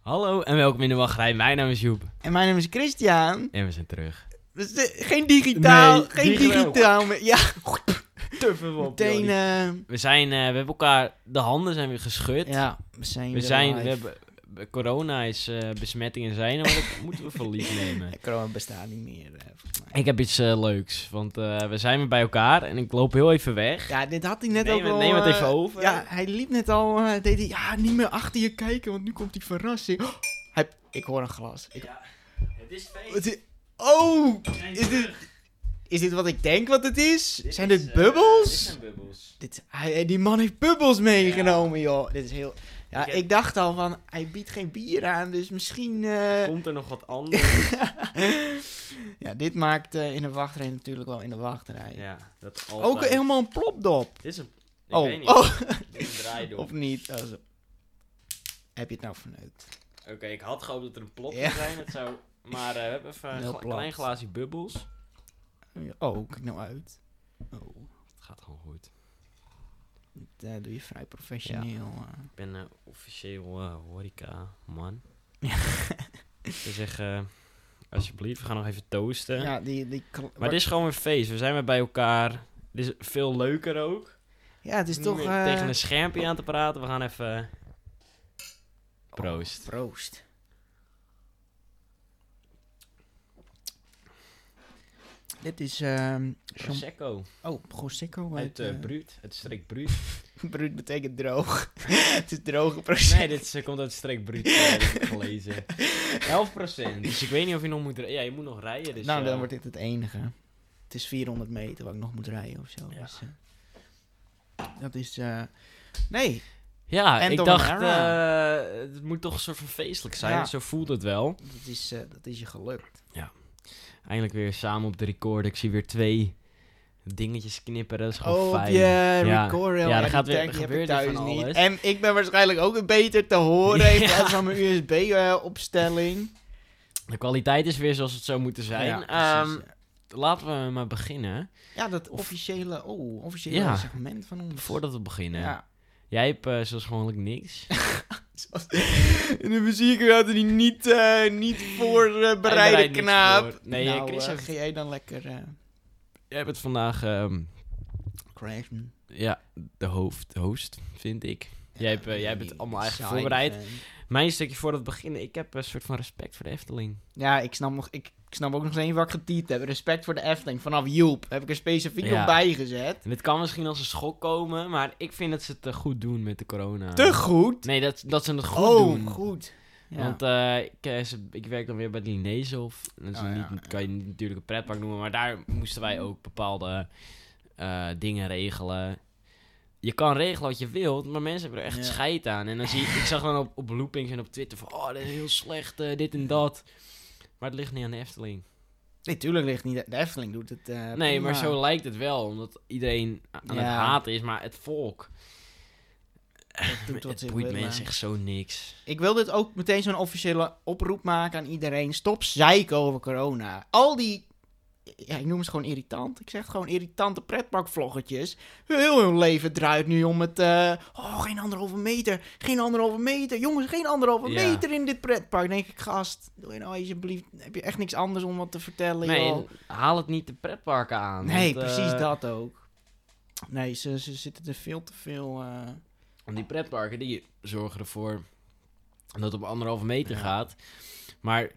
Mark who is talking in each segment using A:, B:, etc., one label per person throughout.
A: Hallo en welkom in de wachtrij. Mijn naam is Joep.
B: En mijn naam is Christian.
A: En we zijn terug.
B: Dus, eh, geen digitaal,
C: Nee,
B: geen
C: digitaal.
B: digitaal meer. Ja,
C: Tuffen op.
B: meteen. eh,
A: We, zijn, eh, we hebben elkaar, de handen zijn weer geschud.
B: ja, we zijn.
A: we
B: weer
A: zijn, we
B: live.
A: hebben, eh, corona is, eh, besmettingen zijn, maar dat moeten we voor lief nemen.
B: Ja, corona bestaat niet meer. eh, volgens mij.
A: Ik heb iets eh, leuks, want eh, we zijn weer bij elkaar en ik loop heel even weg.
B: Ja, dit had hij net
A: Neem
B: ook
A: het-
B: al.
A: neem het
B: eh,
A: even over.
B: Ja, hij liep net al. eh, deed hij, ja, niet meer achter je kijken, want nu komt die verrassing. Oh, hij, ik hoor een glas. Ik,
A: Het is
B: wat is- oh, is
A: feest.
B: dit, is dit wat ik denk wat het is? eh, zijn dit
A: eh, dit
B: bubbels?
A: zijn bubbels.
B: Dit, hij, eh, die man heeft bubbels meegenomen, joh. Dit is heel... Ja,
A: Ik
B: ik,
A: heb-
B: dacht al van, hij biedt geen bier aan, dus misschien... eh,
A: Komt er nog wat anders?
B: ja, dit maakt eh, in de wachtrij natuurlijk wel in de wachtrij.
A: ja, dat
B: Ook
A: altijd.
B: helemaal een plopdop.
A: Dit is een... Ik
B: oh,
A: weet niet.
B: oh,
A: Dit is een draaidoek.
B: of niet. Oh, zo. Heb je het nou verneukt?
A: Oké, ik had gehoopt dat er een plot
B: Ja.
A: zou zijn. Het zou... Maar eh, we hebben even een
B: Heel
A: gla-
B: plat.
A: klein glaasje bubbels.
B: Oh, kijk nou uit. Oh,
A: Het gaat gewoon goed.
B: dat eh, doe je vrij professioneel. eh.
A: Ik ben eh, officieel eh, horeca man. Ze zeggen, eh, alsjeblieft, we gaan nog even
B: eh. Ja,
A: toasten.
B: die, die kl-
A: maar dit is gewoon weer feest. We zijn weer bij elkaar. Dit is veel leuker ook.
B: ja, het is
A: Niet
B: toch...
A: meer
B: eh,
A: tegen een schermpje aan te praten. We gaan even... Proost.
B: Proost. Dit is ehm cham-
A: Prosecco.
B: oh, Prosecco
A: Uit
B: uit,
A: eh,
B: eh,
A: Bruut. Het streek Bruut.
B: Bruut betekent droog. het is droge
A: Nee,
B: Prosecco.
A: dit is, eh, komt uit streek Bruut. eh, heb ik gelezen. 11%. Dus ik weet niet of je nog moet... ri- Ja, je moet nog rijden. Dus,
B: nou, dan
A: eh,
B: wordt dit het enige. Het is 400 meter waar ik nog moet rijden of zo.
A: Ja.
B: Dus, eh, dat is... eh, nee,
A: Ja,
B: End
A: ik
B: of an
A: dacht,
B: era.
A: eh, het moet toch een soort van feestelijk zijn.
B: Ja.
A: Zo voelt het wel.
B: dat is, eh, dat is je gelukt.
A: Eindelijk weer samen op de record. Ik zie weer twee dingetjes knipperen. Dat is gewoon
B: Oh, op
A: fijn.
B: je
A: Ja.
B: record
A: Ja,
B: rail.
A: er
B: die
A: gaat weer-
B: tag
A: er
B: die
A: gebeurt
B: heb ik
A: weer
B: thuis
A: van
B: niet.
A: alles.
B: En ik ben waarschijnlijk ook beter te horen in
A: Ja.
B: plaats van mijn eh, USB-opstelling.
A: De kwaliteit is weer zoals het zou moeten zijn.
B: Ja,
A: Ehm,
B: precies,
A: laten we maar beginnen.
B: Ja, dat officiële, oh, officiële
A: Ja.
B: segment van ons.
A: Voordat we beginnen.
B: Ja.
A: Jij hebt eh, zoals gewoonlijk niks.
B: En de muziek hadden die niet, eh, niet
A: Hij
B: voorbereide
A: bereidt niks
B: knaap.
A: voor. Nee, eh,
B: nou,
A: Chris
B: eh,
A: heeft-
B: ga jij dan lekker eh
A: Jij hebt het vandaag, ehm,
B: crashen.
A: ja, de hoofd, host, vind ik. Jij hebt, eh, jij hebt het allemaal eigenlijk
B: saai
A: voorbereid.
B: event.
A: Mijn stukje voordat we beginnen. Ik heb een soort van respect voor de Efteling.
B: Ja, ik snap, nog, ik, ik snap ook nog eens wat ik getypt heb. Respect voor de Efteling. Vanaf Joep heb ik er specifiek
A: Ja.
B: op bijgezet.
A: En dit kan misschien als een schok komen, maar ik vind dat ze het eh, goed doen met de corona.
B: Te goed.
A: Nee, dat, dat ze het goed
B: oh,
A: doen.
B: goed. Ja.
A: Want eh, ik, eh, ze- ik werk dan weer bij de Lineeshof. Dat is
B: Oh,
A: niet,
B: ja,
A: kan je niet natuurlijk een pretpark noemen, maar daar moesten wij ook bepaalde eh, dingen regelen. Je kan regelen wat je wilt, maar mensen hebben er echt
B: Ja.
A: scheid aan. En dan zie ik, ik zag dan op, op loopings en op Twitter van, oh, dit is heel slecht, eh, dit en dat. Maar het ligt niet aan de Efteling.
B: Nee, tuurlijk ligt niet. De Efteling doet het. eh,
A: Nee, maar
B: prima.
A: zo lijkt het wel, omdat iedereen a- aan het
B: Ja.
A: haten is, maar het volk.
B: Dat doet wat
A: het
B: ze
A: boeit
B: willen.
A: mensen echt zo niks.
B: Ik wil dit ook meteen zo'n officiële oproep maken aan iedereen. Stop zeiken over corona. Al die, ja, ik noem ze gewoon irritant. Ik zeg gewoon irritante pretparkvloggetjes. Heel hun leven draait nu om het, eh, oh, geen anderhalve meter, geen anderhalve meter. Jongens, geen anderhalve
A: Ja.
B: meter in dit pretpark. Dan denk ik, gast, doe je nou alsjeblieft, heb je echt niks anders om wat te vertellen,
A: Nee,
B: joh.
A: en haal het niet de pretparken aan.
B: Nee,
A: want, eh,
B: precies dat ook. Nee, ze, ze zitten er veel te veel... eh,
A: want die pretparken die zorgen ervoor dat het op anderhalve meter
B: Ja.
A: gaat. Maar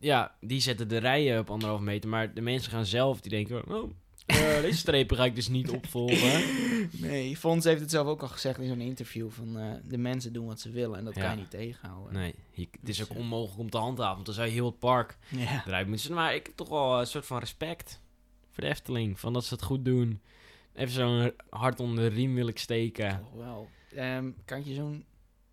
A: ja, die zetten de rijen op anderhalve meter. Maar de mensen gaan zelf, die denken, oh, eh, deze strepen ga ik dus niet opvolgen.
B: Nee, Fons heeft het zelf ook al gezegd in zo'n interview van eh, de mensen doen wat ze willen en dat
A: Ja.
B: kan je niet tegenhouden.
A: Nee, je- het is
B: Dus,
A: ook
B: eh,
A: onmogelijk om te handhaven, want dan zou je heel het park
B: Ja.
A: eruit moeten zetten. Maar ik heb toch wel een soort van respect voor de Efteling. Van dat ze het goed doen. Even zo'n hart onder de riem wil ik steken.
B: Toch wel. Ehm, kan je zo'n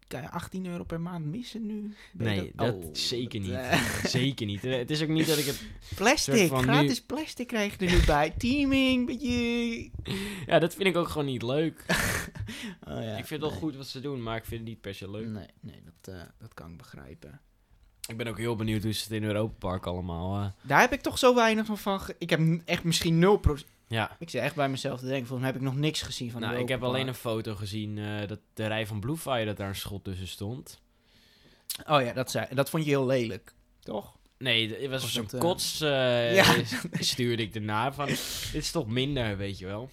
B: kan je 18 euro per maand missen nu? Ben je
A: Nee, dat zeker niet.
B: eh,
A: Zeker niet. Eh, Het is ook niet dat ik het... Soort
B: plastic,
A: van
B: gratis plastic krijg je er nu bij. Teaming, beetje...
A: Ja, dat vind ik ook gewoon niet leuk.
B: Oh, ja.
A: ik vind het wel
B: nee. Mm.
A: goed wat ze doen, maar ik vind het niet per se leuk.
B: Nee, nee dat, eh, dat kan ik begrijpen.
A: Ik ben ook heel benieuwd hoe ze het in Europa Park allemaal... eh,
B: Daar heb ik toch zo weinig van van... ge- Ik heb n- echt misschien 0%...
A: ja,
B: Ik zit echt bij mezelf te denken, volgens mij heb ik nog niks gezien van
A: nou,
B: die
A: ik heb
B: open
A: alleen een
B: park.
A: foto gezien eh, dat de rij van Bluefire dat daar een schot tussen stond.
B: Oh ja, dat, zei, dat vond je heel lelijk. Toch?
A: Nee, d- het was
B: Of
A: zo'n
B: dat, eh,
A: kots eh,
B: ja.
A: is- stuurde ik erna van, dit is toch minder, weet je wel.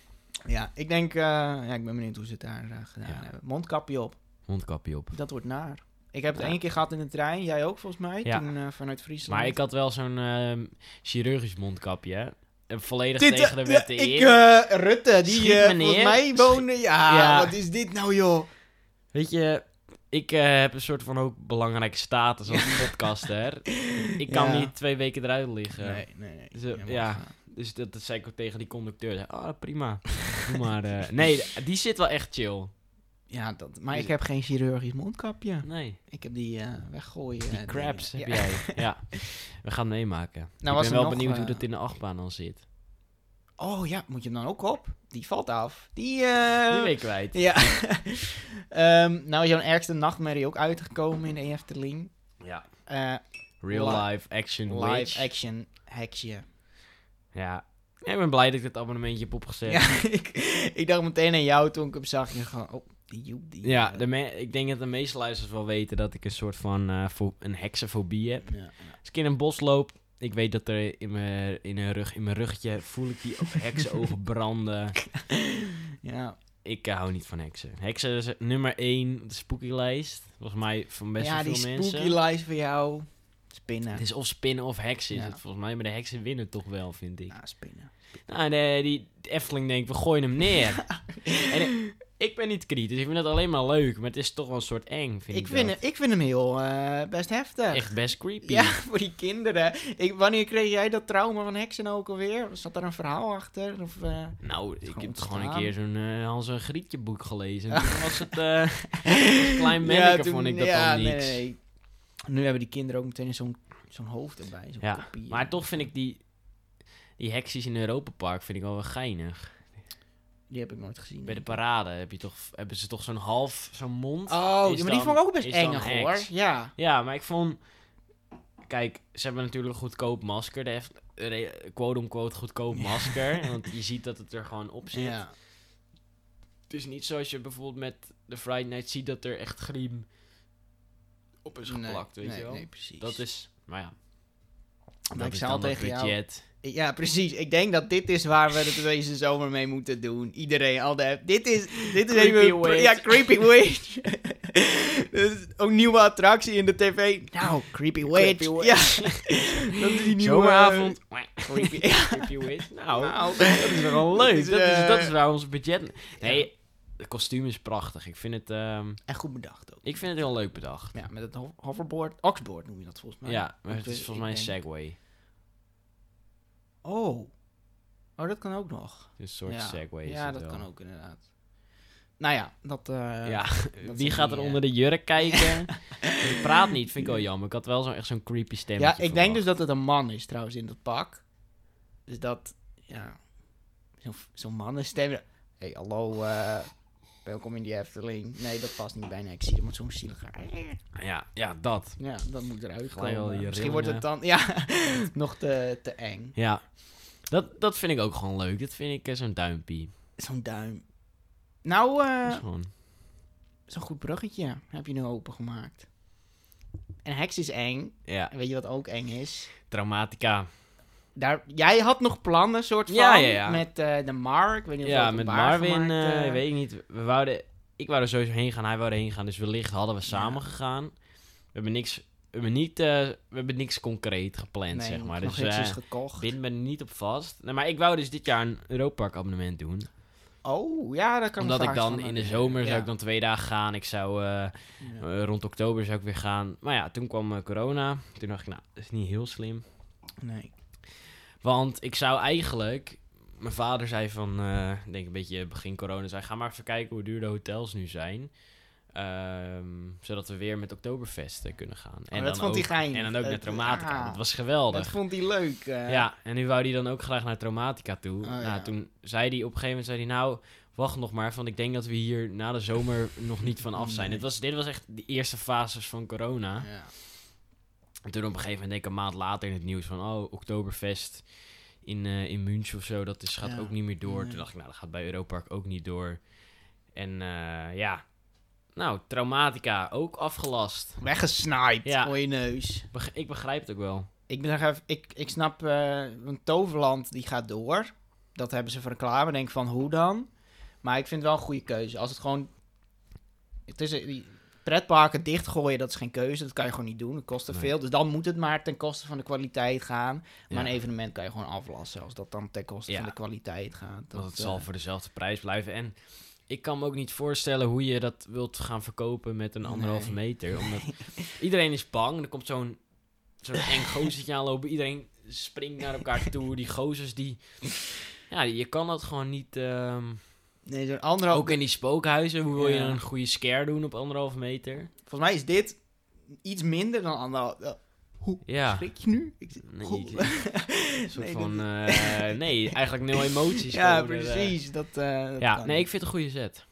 B: Ja, ik denk, eh, ja, ik ben benieuwd hoe ze het daar eh, gedaan
A: Ja.
B: hebben. Mondkapje op,
A: Hondkapje op.
B: dat wordt naar. Ik heb het
A: Ja.
B: één keer gehad in de trein, jij ook volgens mij,
A: Ja.
B: toen eh, vanuit Friesland.
A: Maar ik had wel zo'n ehm, chirurgisch mondkapje, hè. En volledig
B: Dit,
A: tegen de
B: eh,
A: wet in.
B: ik, eh, Rutte,
A: Schiet
B: die eh,
A: me
B: volgens
A: neer.
B: mij woonde... Ja,
A: Ja.
B: wat is dit nou, joh?
A: Weet je, ik eh, heb een soort van ook belangrijke status als podcaster. Ik kan
B: Ja.
A: niet twee weken eruit liggen.
B: nee, nee.
A: Zo,
B: Je mag,
A: ja.
B: eh,
A: Dus dat, dat zei ik ook tegen die conducteur. Zei, Ah, prima. Doe maar... eh, nee, die zit wel echt chill.
B: Ja, dat, maar ik heb geen chirurgisch mondkapje.
A: Nee,
B: Ik heb die eh, weggooien.
A: die
B: dingen.
A: craps heb
B: Ja.
A: jij. Ja, we gaan meemaken.
B: Nou,
A: ik
B: was
A: ben wel
B: er nog,
A: benieuwd hoe
B: eh,
A: dat in de achtbaan al zit.
B: Oh ja, moet je hem dan ook op? Die valt af. Die, eh,
A: Die ben ik kwijt.
B: Ja. Ehm, nou is jouw ergste nachtmerrie ook uitgekomen in de Efteling.
A: Ja.
B: Eh,
A: Real
B: Li-
A: life action
B: live
A: witch.
B: action hekje.
A: ja. Ja, Ik ben blij dat ik dat abonnementje heb opgezet. Ja,
B: Ja, ik, ik dacht meteen aan jou toen ik hem zag. En gewoon, oh, die joep, die. eh,
A: de me- ik denk dat de meeste luisteraars wel weten dat ik een soort van eh, fo- een heksenfobie heb.
B: ja.
A: Als ik in een bos loop, ik weet dat er in mijn, in een rug, in mijn ruggetje voel ik die heksenogen branden.
B: Ja,
A: Ik eh, hou niet van heksen. Heksen is nummer 1 op de spooky lijst. Volgens mij van best
B: ja
A: wel
B: die
A: veel
B: spooky
A: mensen.
B: lies van jou. Spinnen.
A: Het is of spinnen of heksen is
B: Ja.
A: het volgens mij. Maar de heksen winnen toch wel, vind ik.
B: Ja, spinnen.
A: Nou, de, die de Efteling denkt, we gooien hem neer. en, ik- ik ben niet kritisch. Ik vind het alleen maar leuk. Maar het is toch wel een soort eng, vind ik
B: Ik vind,
A: dat.
B: hem, ik vind hem heel eh, best heftig.
A: Echt best creepy.
B: Ja, voor die kinderen. Ik, wanneer kreeg jij dat trauma van heksen ook alweer? Zat daar een verhaal achter? Of, eh,
A: Nou, ik heb
B: ontstaan.
A: gewoon een keer zo'n eh Hans en Grietje boek gelezen. En toen was het... eh, klein
B: Ja,
A: manneke
B: toen-
A: vond ik dat
B: ja,
A: al niks.
B: Nee, nee. Nu hebben die kinderen ook meteen zo'n zo'n hoofd erbij. Zo'n
A: Ja,
B: kopie.
A: Maar toch vind ik die, die hekjes in Europa Park vind ik wel wel geinig.
B: Die heb ik nooit gezien.
A: Bij de parade heb je toch, hebben ze toch zo'n half, zo'n mond. is
B: Oh, ja, maar die
A: dan-
B: vond ik ook best
A: is dan
B: eng
A: een
B: hoor.
A: heks.
B: Ja.
A: Ja, maar ik vond... Kijk, ze hebben natuurlijk een goedkoop masker. De F- re- quote-unquote goedkoop masker. Want je ziet dat het er gewoon op zit.
B: ja.
A: Het is niet zoals je bijvoorbeeld met de Friday Night ziet dat er echt griem op is geplakt,
B: nee,
A: weet
B: nee,
A: je wel.
B: Nee, precies.
A: Dat is, maar ja.
B: Maar
A: dat
B: ik
A: is
B: zei
A: dan
B: al
A: dat
B: tegen jou-
A: budget.
B: Ja, precies. Ik denk dat dit is waar we het deze zomer mee moeten doen. Iedereen, al de... Dit is... Dit is
A: Creepy
B: even-
A: witch.
B: Ja, Creepy Witch. dus ook nieuwe attractie in de tv. Nou, Creepy Witch.
A: Creepy witch.
B: Ja. dat is die nieuwe...
A: Zomeravond.
B: Creepy.
A: Creepy witch. Nou,
B: Nou,
A: dat is wel leuk.
B: Dus,
A: dat, is,
B: eh,
A: dat is waar ons budget... Nee, het kostuum is prachtig. Ik vind het, ehm,
B: En goed bedacht ook.
A: ik vind het heel leuk bedacht.
B: Ja, met het ho- hoverboard. Oxboard noem je dat volgens mij.
A: ja, maar het
B: ik-
A: is
B: ik
A: volgens mij een
B: denk-
A: segway.
B: Oh. Oh, dat kan ook nog.
A: Een soort
B: ja.
A: segway is
B: Ja,
A: het
B: dat
A: wel.
B: kan ook inderdaad. Nou ja, dat... eh,
A: ja,
B: dat
A: wie
B: zijn
A: gaat
B: die,
A: er
B: eh,
A: onder de jurk kijken? Je praat niet, vind ik wel jammer. Ik had wel zo'n echt zo'n creepy stemmetje
B: Ja, ik denk
A: verwacht.
B: dus dat het een man is trouwens in dat pak. Dus dat, ja, zo'n zo'n mannenstem. Hé, hey, hallo, eh, welkom in die Efteling. Nee, dat past niet bijna. Ik zie iemand zo'n zielig. dus-
A: Ja, ja, dat.
B: Ja, dat moet eruit
A: Gelijk al
B: komen.
A: die
B: Misschien wordt het dan, ja, nog te, te eng.
A: Ja, dat, dat vind ik ook gewoon leuk. Dat vind ik eh, zo'n duimpie.
B: Zo'n duim. Nou, eh,
A: Dat is gewoon...
B: zo'n goed bruggetje heb je nu opengemaakt. En heks is eng.
A: Ja,
B: En weet je wat ook eng is?
A: traumatica.
B: Daar, jij had nog plannen, soort van,
A: Ja, ja, ja.
B: met eh, de Mark. Ik weet niet of
A: Ja,
B: dat
A: met
B: openbaar
A: Marvin,
B: gemaakt,
A: eh,
B: eh,
A: weet ik niet. We wouden, ik wou er sowieso heen gaan, hij wou er heen gaan. Dus wellicht hadden we samen gegaan. We hebben niks, we hebben niet, eh, we hebben niks concreet gepland,
B: Nee,
A: zeg maar.
B: nog
A: Dus
B: niks is
A: eh
B: gekocht.
A: bind me er niet op vast. Nee, maar ik wou dus dit jaar een Europark abonnement doen.
B: Oh, ja, dat kan me
A: omdat ik
B: vragen
A: dan
B: van
A: in de
B: maken.
A: zomer
B: Ja.
A: zou ik dan twee dagen gaan. Ik zou eh,
B: Ja.
A: eh, rond oktober zou ik weer gaan. Maar ja, toen kwam eh, corona. Toen dacht ik, nou, dat is niet heel slim.
B: Nee.
A: Want ik zou eigenlijk... Mijn vader zei van, eh, ik denk een beetje begin corona, zei ga maar even kijken hoe duur de hotels nu zijn. Ehm, zodat we weer met Oktoberfest eh, kunnen gaan.
B: Oh, dat vond
A: ook,
B: hij geinig.
A: En dan ook naar
B: Dat-
A: Traumatica.
B: ah,
A: dat was
B: Dat
A: geweldig.
B: vond hij leuk. eh.
A: ja, en nu wou hij dan ook graag naar Traumatica toe.
B: Oh,
A: nou,
B: ja.
A: toen zei hij op een gegeven moment, zei hij, nou, wacht nog maar, want ik denk dat we hier na de zomer nog niet van af zijn.
B: Nee.
A: Dit, was, dit was echt de eerste fases van corona.
B: Ja.
A: En toen op een gegeven moment, denk ik een maand later in het nieuws van... Oh, Oktoberfest in, eh, in München of zo, dat is, gaat
B: Ja,
A: ook niet meer door. Toen
B: nee.
A: dacht ik, nou, dat gaat bij Europark ook niet door. En eh, ja, Nou, traumatica ook afgelast.
B: Weggesniped
A: Ja.
B: voor je neus.
A: Beg- ik begrijp het ook wel.
B: Ik, ben nog even, ik, ik snap, eh, een Toverland die gaat door. Dat hebben ze verklaard. Ik denk van, hoe dan? Maar ik vind het wel een goede keuze. Als het gewoon... Het is, die pretparken dichtgooien, dat is geen keuze. Dat kan je gewoon niet doen. Dat kost te
A: Nee.
B: veel. Dus dan moet het maar ten koste van de kwaliteit gaan. Maar
A: Ja.
B: een evenement kan je gewoon aflassen. Als dat dan ten koste
A: Ja.
B: van de kwaliteit gaat.
A: Want het
B: eh,
A: zal voor dezelfde prijs blijven. En ik kan me ook niet voorstellen hoe je dat wilt gaan verkopen met een anderhalve
B: Nee.
A: meter. Omdat iedereen is bang. Er komt zo'n zo'n eng gozertje aanlopen. Iedereen springt naar elkaar toe. Die gozers die... Ja, je kan dat gewoon niet... ehm,
B: Nee, zo'n anderhalf...
A: ook in die spookhuizen. Hoe wil je
B: Nou, Ja.
A: een goede scare doen op anderhalve meter?
B: Volgens mij is dit iets minder dan anderhalf... eh, Hoe
A: Ja.
B: schrik je nu? Ik,
A: Nee,
B: Hoe-
A: ik- Een soort
B: Nee,
A: van...
B: dat-
A: eh, nee, eigenlijk nul emoties.
B: ja,
A: komen er, eh.
B: precies. Dat, eh, dat
A: Ja,
B: kan
A: nee,
B: niet.
A: ik vind het een goede zet.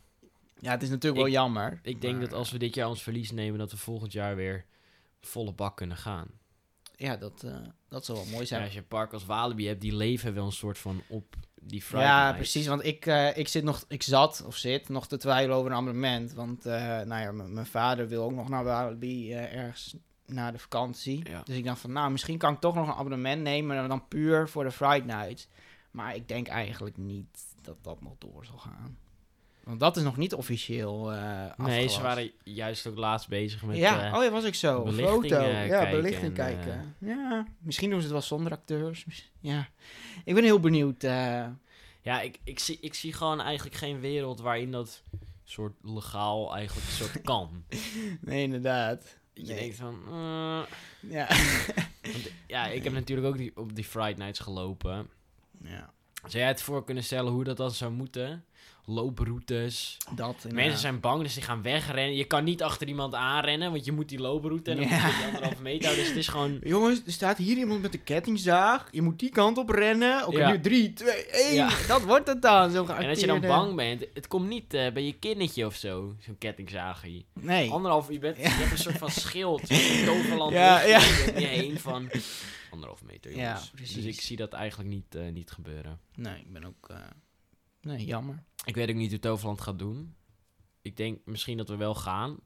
B: ja, het is natuurlijk
A: ik-
B: wel jammer.
A: Ik denk
B: maar,
A: dat als we dit jaar ons verlies nemen, dat we volgend jaar weer volle bak kunnen gaan.
B: Ja, dat, eh, dat zou wel mooi
A: Ja,
B: zijn.
A: als je een park als Walibi hebt, die leven wel een soort van op die
B: Ja,
A: Friday night.
B: precies. Want ik, eh, ik, zit nog, ik zat, of zit, nog te twijfelen over een abonnement. Want eh, nou ja, m- mijn vader wil ook nog naar Walibi eh, ergens na de vakantie.
A: Ja.
B: Dus ik dacht van, nou, misschien kan ik toch nog een abonnement nemen. maar Dan puur voor de Friday Night. Maar ik denk eigenlijk niet dat dat nog door zal gaan. Want dat is nog niet officieel eh
A: Nee,
B: afgelast.
A: ze waren juist ook laatst bezig met...
B: ja,
A: eh,
B: oh ja, was ik zo.
A: belichting,
B: Foto.
A: eh,
B: ja,
A: kijken
B: belichting
A: en, eh,
B: kijken. ja, misschien doen ze het wel zonder acteurs. Mis- Ja, ik ben heel benieuwd. eh,
A: ja, ik, ik, zie, ik zie gewoon eigenlijk geen wereld waarin dat soort legaal eigenlijk een soort kan.
B: nee, inderdaad.
A: Je
B: Nee.
A: denkt van... eh,
B: Ja.
A: want, ja, ik heb natuurlijk ook die, op die Friday Nights gelopen.
B: ja.
A: Zou jij het voor kunnen stellen hoe dat dan zou moeten? Looproutes,
B: Dat
A: De Mensen zijn bang, dus die gaan wegrennen. Je kan niet achter iemand aanrennen, want je moet die looproute en dan
B: Ja.
A: moet je die anderhalve meter houden. Dus het is gewoon...
B: Jongens, er staat hier iemand met een kettingzaag. Je moet die kant op rennen. Oké,
A: Ja.
B: nu 3, 2, 1.
A: Ja.
B: Dat wordt het dan. Zo
A: En als je dan bang bent, het komt niet eh, bij je kindertje of zo, zo'n kettingzaagje.
B: Nee.
A: Anderhalf, je, bent, je hebt een soort van schild, een toverland
B: Ja,
A: ja,
B: ja.
A: om je heen van anderhalf meter,
B: Ja,
A: jongens.
B: precies.
A: dus ik zie dat eigenlijk niet, eh, niet gebeuren.
B: Nee, ik ben ook... eh, Nee, jammer.
A: Ik weet ook niet hoe Toverland gaat doen. Ik denk misschien dat we wel gaan.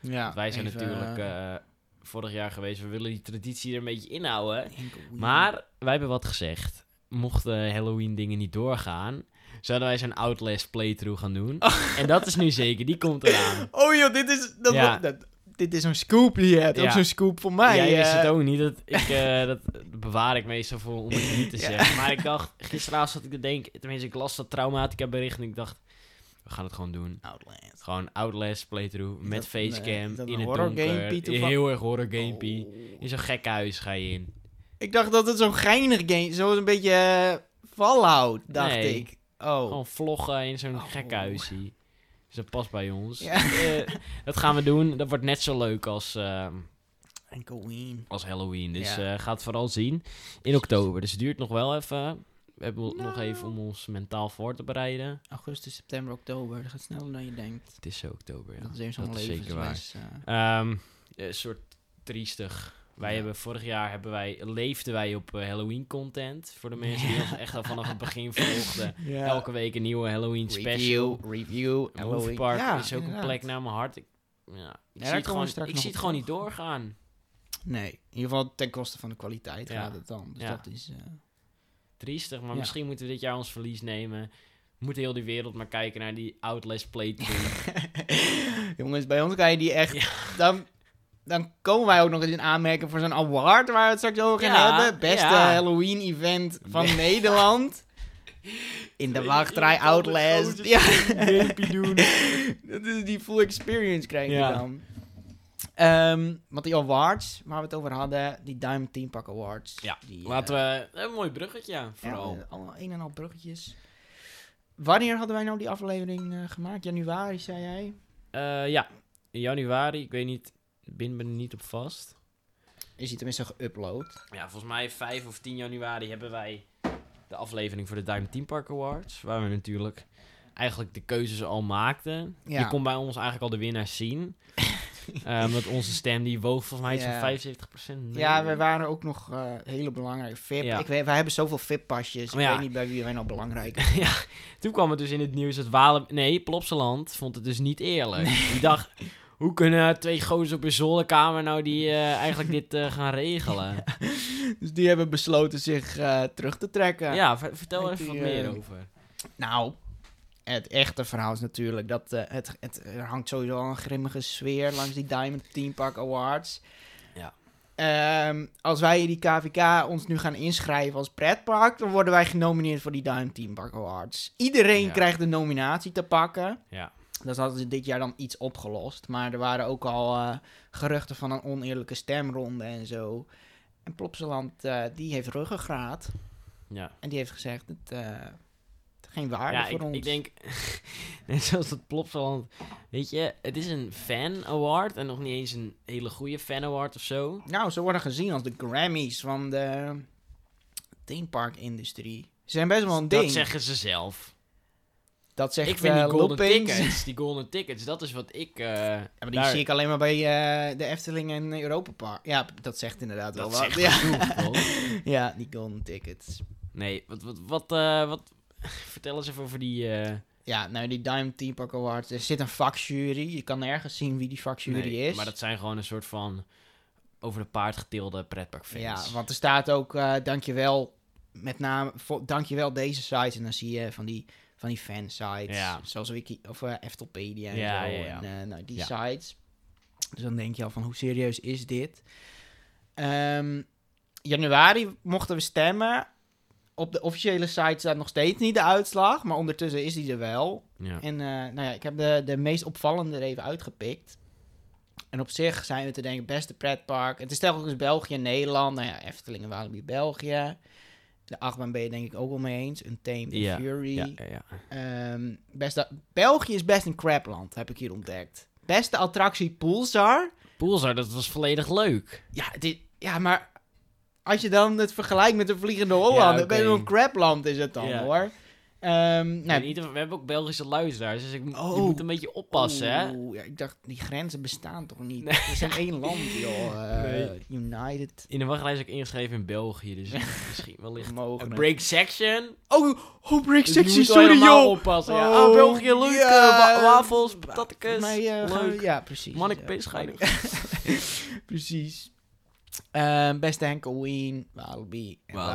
B: Ja,
A: Want wij zijn
B: Ah, even,
A: natuurlijk
B: eh,
A: eh, vorig jaar geweest, we willen die traditie er een beetje inhouden.
B: enkel-
A: eh, Maar wij hebben wat gezegd. Mochten Halloween dingen niet doorgaan, zouden wij zo'n Outlast playthrough gaan doen. En dat is nu zeker, die komt eraan.
B: Oh joh, dit is... Dat,
A: Ja.
B: dat- dit is zo'n scoop die je hebt. Ook
A: Ja.
B: zo'n scoop voor mij.
A: Jij wist
B: eh.
A: het ook niet, dat, ik, eh, dat bewaar ik meestal voor om het niet te
B: Ja.
A: zeggen. Maar ik dacht, gisteravond zat ik te denken, tenminste ik las dat traumatica bericht en ik dacht, we gaan het gewoon doen.
B: Outland.
A: Gewoon Outlast playthrough met
B: Dat- nee,
A: facecam
B: is dat
A: in
B: een
A: het
B: horror
A: donker.
B: gamepie toeval-
A: Heel erg horror gamepie.
B: Oh.
A: In zo'n gekke huis ga je in.
B: Ik dacht dat het zo'n geinig game... Zo'n een beetje eh, Fallout, dacht
A: Nee.
B: ik. Oh.
A: Gewoon vloggen in zo'n
B: Oh.
A: gekhuisie. Dus dat past bij ons.
B: Ja.
A: Eh, dat gaan we doen. Dat wordt net zo leuk als, ehm,
B: En Queen.
A: als Halloween. Dus
B: Ja.
A: eh ga het vooral zien in oktober. Dus het duurt nog wel even. We hebben
B: Nou.
A: nog even om ons mentaal voor te bereiden.
B: Augustus, september, oktober. Dat gaat sneller dan je denkt.
A: Het is zo oktober, ja.
B: dat is even zo'n
A: dat is zeker waar.
B: levensles. eh.
A: Ehm, een soort triestig. Wij
B: Ja.
A: hebben vorig jaar hebben wij, leefden wij op eh, Halloween content. Voor de mensen die ons echt al vanaf het begin volgden.
B: Ja.
A: Eh, Elke week een nieuwe Halloween special.
B: eh. Review, review,
A: Halloween. Park is ook een plek naar mijn hart. Ik, ja, ik
B: daar
A: zie
B: komen
A: het
B: we
A: gewoon,
B: straks
A: ik
B: nog
A: zie het
B: op
A: gewoon niet
B: terug.
A: doorgaan.
B: Nee, in ieder geval ten koste van de kwaliteit
A: Ja.
B: gaat het dan. Dus
A: Ja.
B: dat is... eh,
A: Triestig, maar
B: Ja.
A: misschien moeten we dit jaar ons verlies nemen. Moet heel die wereld maar kijken naar die Outlast playthrough.
B: Jongens, bij ons kan je die echt... Dan, dan komen wij ook nog eens in aanmerking voor zo'n award waar we het straks over gaan
A: Ja,
B: hebben. Beste
A: ja.
B: Halloween-event van Nederland. In de
A: Weet
B: wachtrij
A: iemand anders
B: Outlast.
A: gewoon
B: Ja. Dat is die full experience krijg je
A: Ja.
B: dan. Ehm, want die awards waar we het over hadden, die Diamond Team Pak Awards.
A: Ja,
B: die,
A: Laten we... Een mooi bruggetje, ja,
B: eh, ja,
A: vooral.
B: eh, allemaal een en al bruggetjes. Wanneer hadden wij nou die aflevering eh, gemaakt? Januari, zei jij?
A: Eh, ja, in januari. Ik weet niet, ik ben er niet op vast.
B: Is die tenminste geüpload?
A: Ja, volgens mij 5 of 10 januari hebben wij de aflevering voor de Diamond Team Park Awards. Waar we natuurlijk eigenlijk de keuzes al maakten.
B: Ja.
A: Je kon bij ons eigenlijk al de winnaars zien. Ehm, want onze stem die woog volgens mij iets
B: Ja.
A: van 75% mee.
B: Ja, we waren ook nog eh, hele belangrijke VIP.
A: Ja.
B: Ik weet, wij hebben zoveel VIP-pasjes.
A: Maar ja.
B: Ik weet niet bij wie wij nou belangrijk zijn.
A: ja, toen kwam het dus in het nieuws dat Walen... Nee, Plopsaland vond het dus niet eerlijk. Die dacht, hoe kunnen twee gozers op een zolderkamer nou die eh, eigenlijk dit eh, gaan regelen?
B: Dus die hebben besloten zich eh, terug te trekken.
A: Ja, ver- vertel
B: Met
A: even wat
B: die,
A: meer
B: eh,
A: over.
B: Nou, het echte verhaal is natuurlijk dat eh, het, het, er hangt sowieso al een grimmige sfeer langs die Diamond Team Park Awards.
A: Ja.
B: Ehm, als wij die KVK ons nu gaan inschrijven als pretpark, dan worden wij genomineerd voor die Diamond Team Park Awards. Iedereen
A: Ja.
B: krijgt een nominatie te pakken.
A: Ja.
B: Dat hadden ze dit jaar dan iets opgelost. Maar er waren ook al eh, geruchten van een oneerlijke stemronde en zo. En Plopsaland, eh, die heeft ruggengraat.
A: Ja,
B: En die heeft gezegd, het, eh, geen waarde
A: ja
B: voor
A: ik,
B: ons.
A: ik denk, net zoals dat Plopsaland, weet je, het is een fan award en nog niet eens een hele goede fan award of zo.
B: Nou, ze worden gezien als de Grammys van de themepark-industrie. Ze zijn best wel een
A: dat
B: ding.
A: zeggen ze zelf.
B: dat zegt
A: ik vind
B: eh,
A: die golden
B: Loopings.
A: tickets, die golden tickets, dat is wat ik... eh,
B: Ja, maar die
A: daar-
B: zie ik alleen maar bij eh, de Efteling en Europa Park. Ja, dat zegt inderdaad wel
A: dat
B: wat.
A: zegt
B: ja.
A: genoeg, toch?
B: ja, die golden tickets.
A: Nee, wat, wat, wat, eh, wat... Vertel eens even over die... eh,
B: Ja, nou, die Diamond Team Park Awards. Er zit een vakjury. Je kan nergens zien wie die vakjury
A: nee,
B: is.
A: Maar dat zijn gewoon een soort van over de paard getilde pretparkfans.
B: Ja, want er staat ook eh, dankjewel, met name, vo- dankjewel deze site. En dan zie je van die, van die fansites,
A: Ja.
B: zoals Wiki of eh Eftelpedia en
A: Ja,
B: zo.
A: ja, ja.
B: En, eh, nou, die
A: Ja.
B: sites. Dus dan denk je al van, hoe serieus is dit? Ehm, januari mochten we stemmen. Op de officiële site staat nog steeds niet de uitslag, maar ondertussen is die er wel.
A: Ja.
B: En eh, nou ja, ik heb de, de meest opvallende er even uitgepikt. En op zich zijn we te denken, beste pretpark. Het is telkens België en Nederland. Nou ja, Eftelingen, Walibi, België. De achtbaan ben je denk ik ook wel mee eens. Een Tame
A: Ja,
B: Fury.
A: Ja, ja, ja.
B: Ehm, beste, België is best een crapland, heb ik hier ontdekt. Beste attractie Pulsar.
A: Pulsar, dat was volledig leuk.
B: Ja, dit, ja, maar als je dan het vergelijkt met de Vliegende Hollander.
A: oké.
B: ben je een crapland is het dan
A: Ja.
B: hoor. Ehm,
A: Nee.
B: nou,
A: we hebben ook Belgische luisteraars, dus ik, mo-
B: Oh.
A: je moet een beetje oppassen, hè?
B: Oeh, ja, ik dacht, die grenzen bestaan toch niet?
A: Nee.
B: We zijn één land, joh. Eh,
A: Nee.
B: United.
A: In de wachtrij is ook ingeschreven in België, dus misschien wellicht...
B: Mogen.
A: Een break section?
B: Oh, oh break
A: Dus
B: sexy,
A: je moet wel
B: sorry,
A: helemaal
B: joh.
A: oppassen, ja.
B: Oh,
A: Ah, België, leuk.
B: ja.
A: eh, wa- wafels, patatjes,
B: Maar, eh, gaan we-
A: leuk.
B: Ja, precies. eh,
A: Manneke
B: ja.
A: peescheiding.
B: Prejes. Ehm, beste Henkelween, Walibi en Walibi.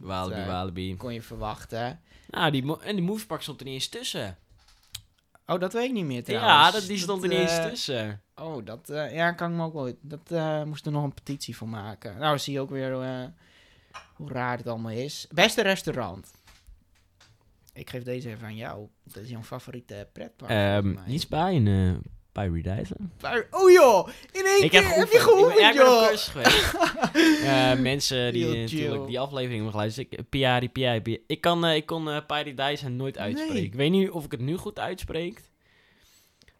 A: Walibi,
B: Dat,
A: Walibi,
B: eh,
A: Walibi.
B: kon je verwachten.
A: Nou, die mo- en die movepark stond er niet eens tussen.
B: Oh, dat weet ik niet meer trouwens.
A: Ja, dat, die stond er niet eens
B: eh,
A: tussen.
B: Oh, dat eh, ja, kan ik me ook wel... Dat eh moest er nog een petitie voor maken. Nou, zie je ook weer eh, hoe raar het allemaal is. Beste restaurant. Ik geef deze even aan jou. Dat is jouw favoriete pretpark.
A: Ehm,
B: volgens mij.
A: iets bij een uh, Paradise.
B: Maar- Oh joh, in één keer heb, je gehoord,
A: Ja, ik ben op
B: joh.
A: cursus geweest. Eh, mensen die
B: Heel
A: eh, natuurlijk
B: chill.
A: die aflevering hebben geluisterd. Ik, eh, Piari, Piari, Piari. Ik, kan, eh, ik kon eh Paradise nooit uitspreken.
B: Nee.
A: Ik weet niet of ik het nu goed uitspreek.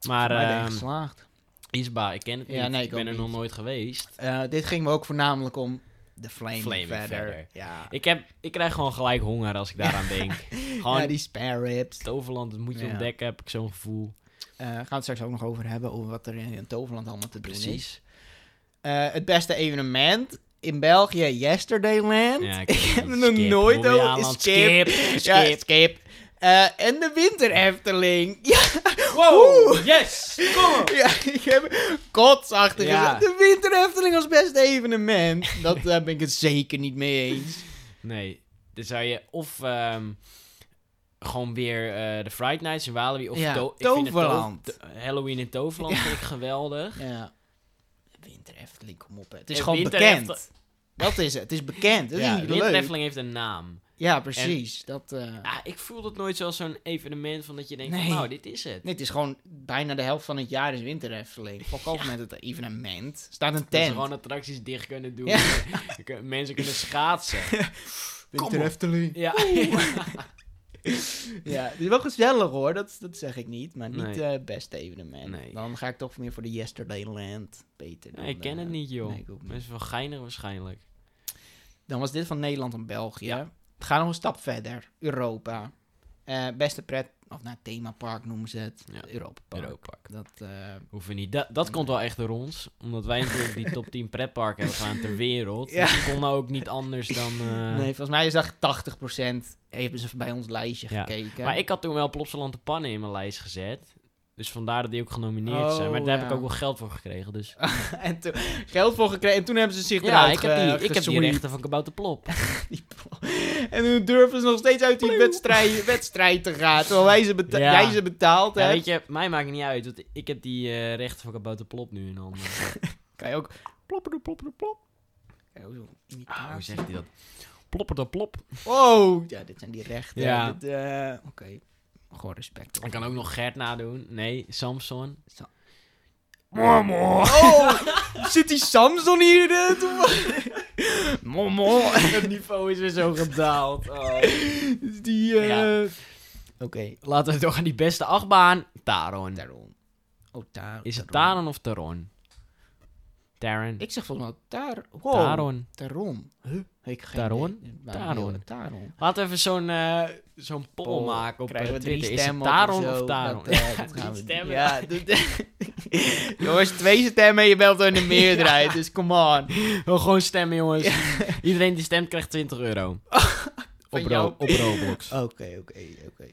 A: Maar
B: Maar ben je
A: ehm,
B: geslaagd.
A: Isba, ik ken het
B: Ja,
A: niet.
B: nee, ik
A: ik ben
B: ook
A: er nog nooit geweest.
B: Eh, dit ging me ook voornamelijk om de Flame,
A: Flaming
B: verder.
A: Feather.
B: Ja.
A: Ik, heb, ik krijg gewoon gelijk honger als ik daaraan denk. Gewoon
B: ja, die spare ribs.
A: het overland, dat moet je
B: Ja.
A: ontdekken, heb ik zo'n gevoel.
B: Eh, gaan we het straks ook nog over hebben, over wat er in Toverland allemaal te doen is. Eh, het beste evenement in België, Yesterdayland.
A: Ja, ik,
B: heb er nog nooit over-
A: Skip,
B: skip.
A: skip.
B: Ja, skip. Eh, en de Winter Efteling. Ja,
A: Wow, yes!
B: ja, ik heb kotsachtig
A: Ja.
B: gezegd. De Winter Efteling als beste evenement. Dat daar ben ik het zeker niet mee eens.
A: Nee, dan zou je of ehm, gewoon weer eh, de Friday Nights in Walibi of
B: Ja,
A: To- ik vind het
B: Toverland.
A: To- Halloween in Toverland vind ik geweldig.
B: Ja. De Winter Efteling, kom op. hè. Het is
A: Eh,
B: gewoon
A: Winter
B: bekend.
A: Eftel-
B: Dat is het. Het is bekend. Het
A: Ja,
B: is niet
A: Winter
B: leuk.
A: Efteling heeft een naam.
B: Ja, precies. Dat, eh,
A: Ah, ik voel het nooit zoals zo'n evenement van dat je denkt,
B: Nee.
A: van, nou, dit is het.
B: Nee, het is gewoon bijna de helft van het jaar is winter Efteling. Fok af met het evenement. Staat een
A: Dat ze
B: tent.
A: gewoon attracties dicht kunnen doen.
B: Ja.
A: Je kun- Mensen kunnen schaatsen. Kom op.
B: Efteling.
A: Ja.
B: Ja, het is wel gezellig hoor. Dat, dat zeg ik niet. Maar niet het
A: Nee.
B: beste evenement.
A: Nee.
B: Dan ga ik toch meer voor de Yesterdayland. Beter.
A: Nee,
B: dan,
A: ik ken
B: eh,
A: het niet, joh.
B: nee, ik ook niet.
A: Mensen van Geinig waarschijnlijk.
B: Dan was dit van Nederland en België.
A: Ja.
B: We gaan nog een stap verder. Europa. Eh, beste pret... Of naar themapark noemen ze het.
A: Ja.
B: Europa Park.
A: Europark.
B: Dat, eh,
A: Hoeven niet. Dat, dat komt wel echt door ons. Omdat wij natuurlijk die top 10 pretparken hebben gedaan ter wereld.
B: Ja.
A: Dus het kon nou ook niet anders dan... eh,
B: Nee, volgens mij is dat 80% hebben ze bij ons lijstje
A: Ja.
B: gekeken.
A: Maar ik had toen wel Plopsaland de Pannen in mijn lijst gezet. Dus vandaar dat die ook genomineerd zijn. Maar
B: Oh,
A: daar heb
B: ja.
A: ik ook wel geld voor gekregen. Dus
B: en toen geld voor gekregen. En toen hebben ze zich
A: ja,
B: eruit
A: ik heb, die,
B: ge-
A: ik heb die
B: gesweept.
A: rechten van Kabouter Plop.
B: Die pro- En toen durven ze nog steeds uit die wedstrijd, wedstrijd te gaan. Terwijl wij ze beta-
A: Ja.
B: jij ze betaald
A: Ja,
B: hebt.
A: weet je, mij maakt het niet uit. Want ik heb die eh, rechten van Kabouter Plop nu in handen.
B: Kan je ook ploppen, ploppen, plop. Kan je ook zo
A: Ah, hoe
B: imitatie.
A: zegt hij dat? Plopper de plop.
B: Oh, ja, dit zijn die rechten.
A: Ja.
B: Dit, eh, Oké, gewoon respect.
A: Ik kan ook nog Gert nadoen. Nee, Samson.
B: Momo. Oh, zit die Samson hier? eh, toe- Momo.
A: Het niveau is weer zo gedaald. Oh.
B: Dus die. eh,
A: Ja.
B: Oké,
A: Laten we door aan die beste achtbaan. Taron.
B: Taron. Oh, Taron.
A: Is het Taron of Taron? Taron.
B: Ik zeg volgens mij Tar. Wow.
A: Taron.
B: Taron. Huh? Ik geen
A: Taron?
B: idee. Maar
A: Taron.
B: heel- Taron.
A: Laten we even zo'n eh, zo'n poll maken op
B: Krijgen
A: eh,
B: we
A: Twitter.
B: drie
A: Is het
B: stemmen
A: Taron
B: zo?
A: of Taron?
B: Dat, eh, dat gaan we
A: drie
B: doen.
A: stemmen.
B: Ja, dat- Jongens, twee stemmen en je belt in de meerderheid, dus come on.
A: eh, Wil gewoon stemmen, jongens. Iedereen die stemt krijgt 20 euro. op, Ro-
B: jou. Oh,
A: op Roblox.
B: Oké, oké, oké.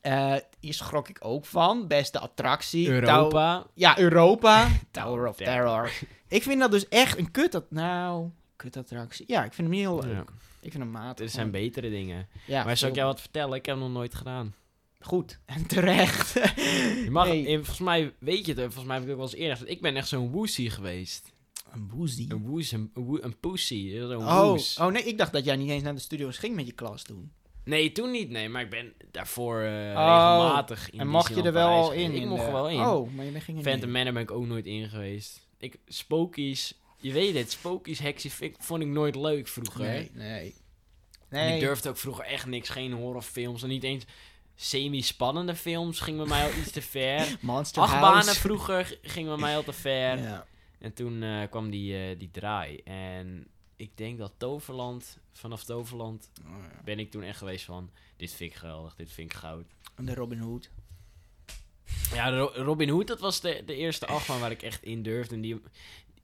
B: Eh, Hier schrok ik ook van. Beste attractie. Tower-
A: Europa.
B: ja, Europa. Tower of
A: Terror.
B: Terror. Ik vind dat dus echt een kut... At- nou, kut attractie. Ja, ik vind hem niet heel Oh, leuk.
A: Ja,
B: Ik vind hem matig.
A: er zijn betere dingen. maar
B: ja,
A: zou ik
B: veel-
A: jou wat vertellen? Ik heb het nog nooit gedaan.
B: Goed, en terecht.
A: Je mag,
B: Nee.
A: eh, volgens mij weet je het, eh, volgens mij heb ik het ook wel eens eerder gezegd. Ik ben echt zo'n woesie geweest.
B: Een boezie.
A: Een woes, een, een woe- een pussy. eh, Zo'n
B: Oh,
A: woes.
B: oh nee, ik dacht dat jij niet eens naar de studio's ging met je klas toen.
A: Nee, toen niet, nee. Maar ik ben daarvoor eh,
B: Oh.
A: regelmatig in
B: en mocht je er
A: Disneyland
B: wel
A: Parijs
B: al in?
A: geweest. Ik
B: in
A: mocht
B: de-
A: er wel in.
B: Oh, maar je ging er
A: Phantom
B: niet
A: Manor ben ik ook nooit in geweest. Ik, spookies, je weet het, spookies, heksen vind ik- vond ik nooit leuk vroeger.
B: in. Nee, nee.
A: En
B: Nee.
A: Ik durfde ook vroeger echt niks, geen horrorfilms en niet eens semi-spannende films ging bij mij al iets te ver.
B: Monster
A: Achtbanen
B: House.
A: vroeger g- ging bij mij al te ver.
B: Ja.
A: En toen eh, kwam die, eh, die draai. En ik denk dat Toverland, vanaf Toverland
B: Oh, ja.
A: ben ik toen echt geweest van... Dit vind ik geweldig, dit vind ik goud.
B: En de Robin Hood.
A: Ja, Ro- Robin Hood, dat was de, de eerste achtbaan waar ik echt in durfde. En die,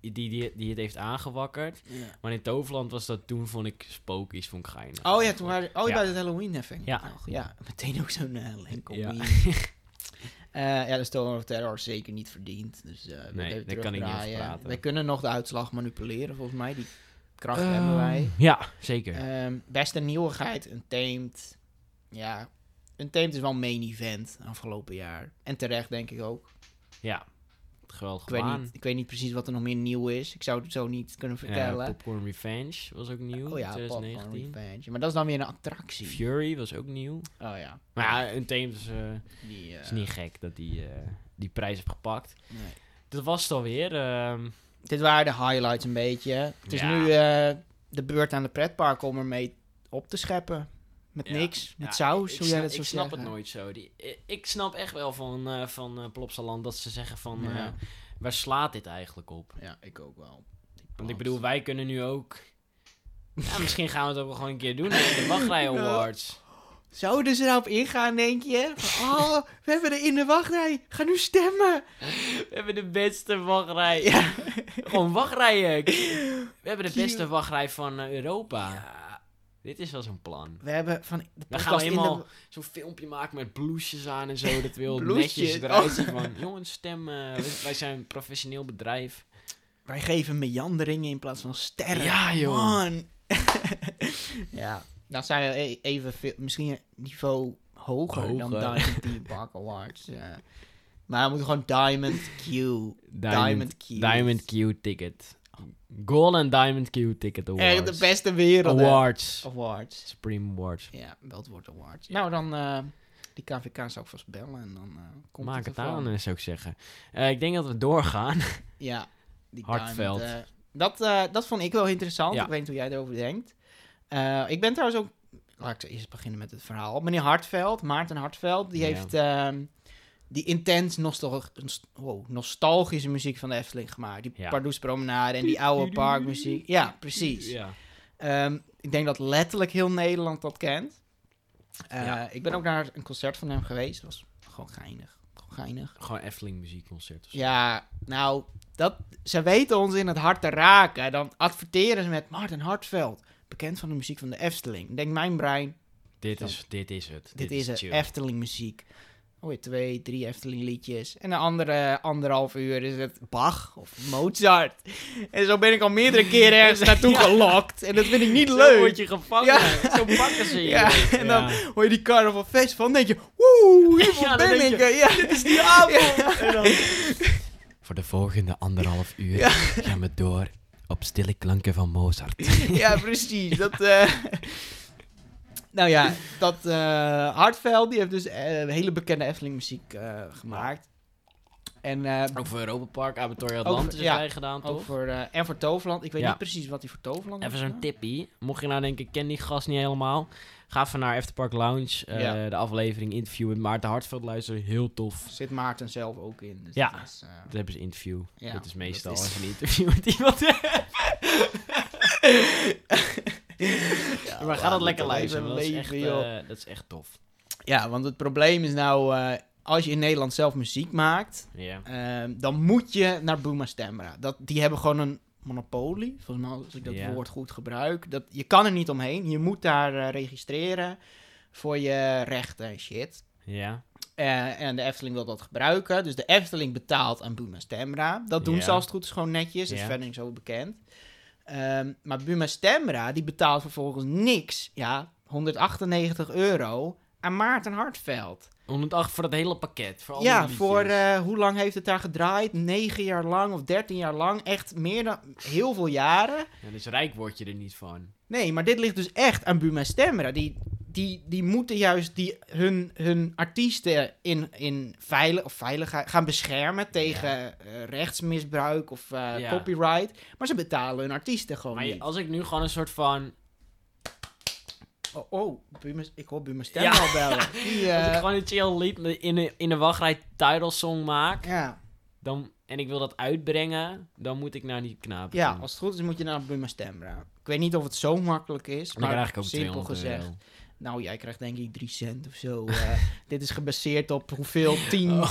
A: die, die, die het heeft aangewakkerd.
B: Ja.
A: Maar in Toverland was dat toen, vond ik spookies, vond ik geinig.
B: Oh ja, toen waren... Oh,
A: Ja.
B: bij het Halloween-effect
A: Ja.
B: nog. Ja, meteen ook zo'n eh Lincoln
A: Ja.
B: Wien. Eh, ja, de Stolen of Terror is zeker niet verdiend. Dus eh
A: Nee,
B: even
A: daar kan ik niet
B: terugdraaien.
A: over praten.
B: Wij kunnen nog de uitslag manipuleren, volgens mij. Die kracht
A: Ehm,
B: hebben wij.
A: Ja, zeker.
B: Ehm, beste nieuwigheid, een teemt. Ja, een teemt is wel een main event afgelopen jaar. En terecht, denk ik ook.
A: ja, geweldig
B: Ik weet,
A: baan.
B: niet, ik weet niet precies wat er nog meer nieuw is. Ik zou het zo niet kunnen
A: Ja,
B: vertellen.
A: Popcorn Revenge was ook nieuw,
B: oh ja, Popcorn
A: 2019.
B: Revenge. Maar dat is dan weer een attractie.
A: Fury was ook nieuw.
B: Oh ja.
A: Maar ja, een Thames is, eh,
B: Die, eh,
A: is niet gek dat die eh, die prijs heeft gepakt.
B: nee.
A: Dat was het alweer. ehm,
B: Dit waren de highlights een beetje. Het is
A: Ja.
B: nu eh, de beurt aan de pretpark om ermee op te scheppen. Met
A: Ja.
B: niks, met
A: ja,
B: saus,
A: ik snap,
B: hoe jij dat zo
A: Ik snap
B: zeggen.
A: het nooit zo. Die, ik- ik snap echt wel van, eh van eh, Plopsaland dat ze zeggen van...
B: Ja.
A: eh, waar slaat dit eigenlijk op?
B: Ja, ik ook wel.
A: Want ik bedoel, wij kunnen nu ook... Ja, misschien gaan we het ook wel gewoon een keer doen. hè, De wachtrij awards.
B: Zouden ze erop ingaan, denk je? Van, oh, we hebben er in de wachtrij. Ga nu stemmen.
A: We hebben de beste wachtrij. Gewoon wachtrijen. We hebben de beste wachtrij van eh, Europa. Dit is wel zo'n plan.
B: We hebben van de
A: We
B: podcast
A: gaan helemaal
B: in de...
A: zo'n filmpje maken met bloesjes aan en zo. Dat wil
B: Bloesjes? Oh.
A: netjes eruit zien van... Jongens, stem. eh, wij- wij zijn een professioneel bedrijf.
B: Wij geven meanderingen in plaats van sterren.
A: Ja, joh.
B: Man. ja, dan zijn we e- even veel, misschien een niveau hoger, dan
A: Hoger.
B: Diamond D Park Awards. ja. Maar we moeten gewoon Diamond Q. Diamond Q.
A: Diamond Q ticket. Gold en Diamond Q ticket awards.
B: Echt de beste Oh. wereld.
A: Awards.
B: Awards.
A: Supreme awards.
B: Ja, wel het woord awards. Nou, dan eh, die KVK zou ik vast bellen en dan eh, komt
A: Maak
B: het
A: het
B: ervan.
A: aan, eh, zou ik zeggen. Eh, ik denk dat we doorgaan.
B: Ja, die
A: Hartveld.
B: Diamond, eh, dat, eh, dat vond ik wel interessant.
A: Ja.
B: Ik weet niet hoe jij erover denkt. Eh, ik ben trouwens ook... Laat ik eerst beginnen met het verhaal. Meneer Hartveld, Maarten Hartveld, die
A: Ja.
B: heeft ehm, die intens nostal wow, nostalgische muziek van de Efteling gemaakt. Die
A: Ja.
B: Pardoes Promenade en die oude parkmuziek. Ja, precies.
A: Ja.
B: Ehm, ik denk dat letterlijk heel Nederland dat kent. Eh,
A: Ja.
B: Ik ben ook naar een concert van hem geweest. Dat was gewoon geinig. Gewoon geinig.
A: Gewoon Efteling muziekconcert of zo.
B: Ja, nou, dat, ze weten ons in het hart te raken. Dan adverteren ze met Martin Hartveld, bekend van de muziek van de Efteling. Denk mijn brein,
A: Dit,
B: Zo.
A: is, dit is het.
B: dit is
A: chill.
B: een Efteling muziek. Hoor je twee, drie Efteling liedjes. En de andere anderhalf uur is het Bach of Mozart. En zo ben ik al meerdere keren ergens naartoe gelokt. En dat vind ik niet
A: Zo
B: leuk.
A: word je gevangen.
B: Ja.
A: Zo pakken ze je.
B: Ja, en dan-
A: Ja.
B: Hoor je die Carnival Festival, dan denk je... Woe, hier
A: Ja, dan
B: ben
A: denk
B: ik.
A: je,
B: ja. Dit is die avond.
A: Voor de volgende anderhalf uur gaan we door op stille klanken van Mozart.
B: Ja, precies. Dat, eh, nou ja, dat eh Hartveld, die heeft dus eh, hele bekende Efteling muziek eh, gemaakt. En eh,
A: Ook voor Europa Park, Abattoir Atlantis is
B: ja.
A: hij gedaan,
B: ook
A: toch?
B: voor, eh, en voor Toverland. Ik
A: Oh.
B: weet
A: Ja.
B: niet precies wat hij voor Toverland
A: Even
B: heeft
A: zo'n tippie. Mocht je nou denken, ik ken die gast niet helemaal. Ga even naar Afterpark Lounge. eh,
B: Ja.
A: De aflevering interview met Maarten Hartveld luisteren. Heel tof.
B: gedaan. Zit Maarten zelf ook in. Dus
A: Ja.
B: dat is, eh,
A: Dat hebben ze interview.
B: Ja,
A: dat is meestal
B: dat is-
A: als je een interview met iemand hebt. maar ga
B: laat
A: dat
B: het
A: lekker
B: dan
A: luisteren.
B: even
A: want Dat is, echt,
B: leven, joh.
A: eh, dat is echt tof.
B: ja, want het probleem is nou, eh, als je in Nederland zelf muziek maakt,
A: Ja.
B: eh, dan moet je naar Buma Stemra. Dat, die hebben gewoon een monopolie, volgens mij als ik dat
A: Ja.
B: woord goed gebruik. Dat, je kan er niet omheen, je moet daar eh, registreren voor je rechten en shit.
A: Ja.
B: Eh, en de Efteling wil dat gebruiken. Dus de Efteling betaalt aan Buma Stemra. Dat doen
A: Ja.
B: ze als het goed is gewoon netjes. Dat
A: Ja.
B: is verder niet zo bekend. Ehm, maar Buma Stemra, die betaalt vervolgens niks. Ja, 198 euro aan Maarten Hartveld.
A: 108 voor dat hele pakket. Voor al die
B: ja,
A: liedjes.
B: voor eh, hoe lang heeft het daar gedraaid? 9 jaar lang of 13 jaar lang. Echt meer dan heel veel jaren.
A: Ja, dus rijk word je er niet van.
B: Nee, maar dit ligt dus echt aan Buma Stemra. Die, die, die moeten juist die, hun, hun artiesten in, in veile- of veiligheid gaan beschermen tegen eh, rechtsmisbruik of eh,
A: Ja.
B: copyright. Maar ze betalen hun artiesten gewoon
A: Maar je-
B: niet.
A: als ik nu gewoon een soort van...
B: Oh, oh Buma, ik hoor Buma Stemra
A: Ja.
B: al bellen. Die,
A: Als ik
B: eh,
A: gewoon een chill lied met- in een, in een wachtrij title song maak...
B: ja.
A: Dan, en ik wil dat uitbrengen... Dan moet ik naar die knaap.
B: ja,
A: toe.
B: als het goed is moet je naar Buma Stemra. Ik weet niet of het zo makkelijk is,
A: En dan
B: maar
A: krijg ik ook
B: simpel
A: 200
B: gezegd.
A: euro.
B: Nou, jij krijgt denk ik 3 cent of zo. eh. dit is gebaseerd op hoeveel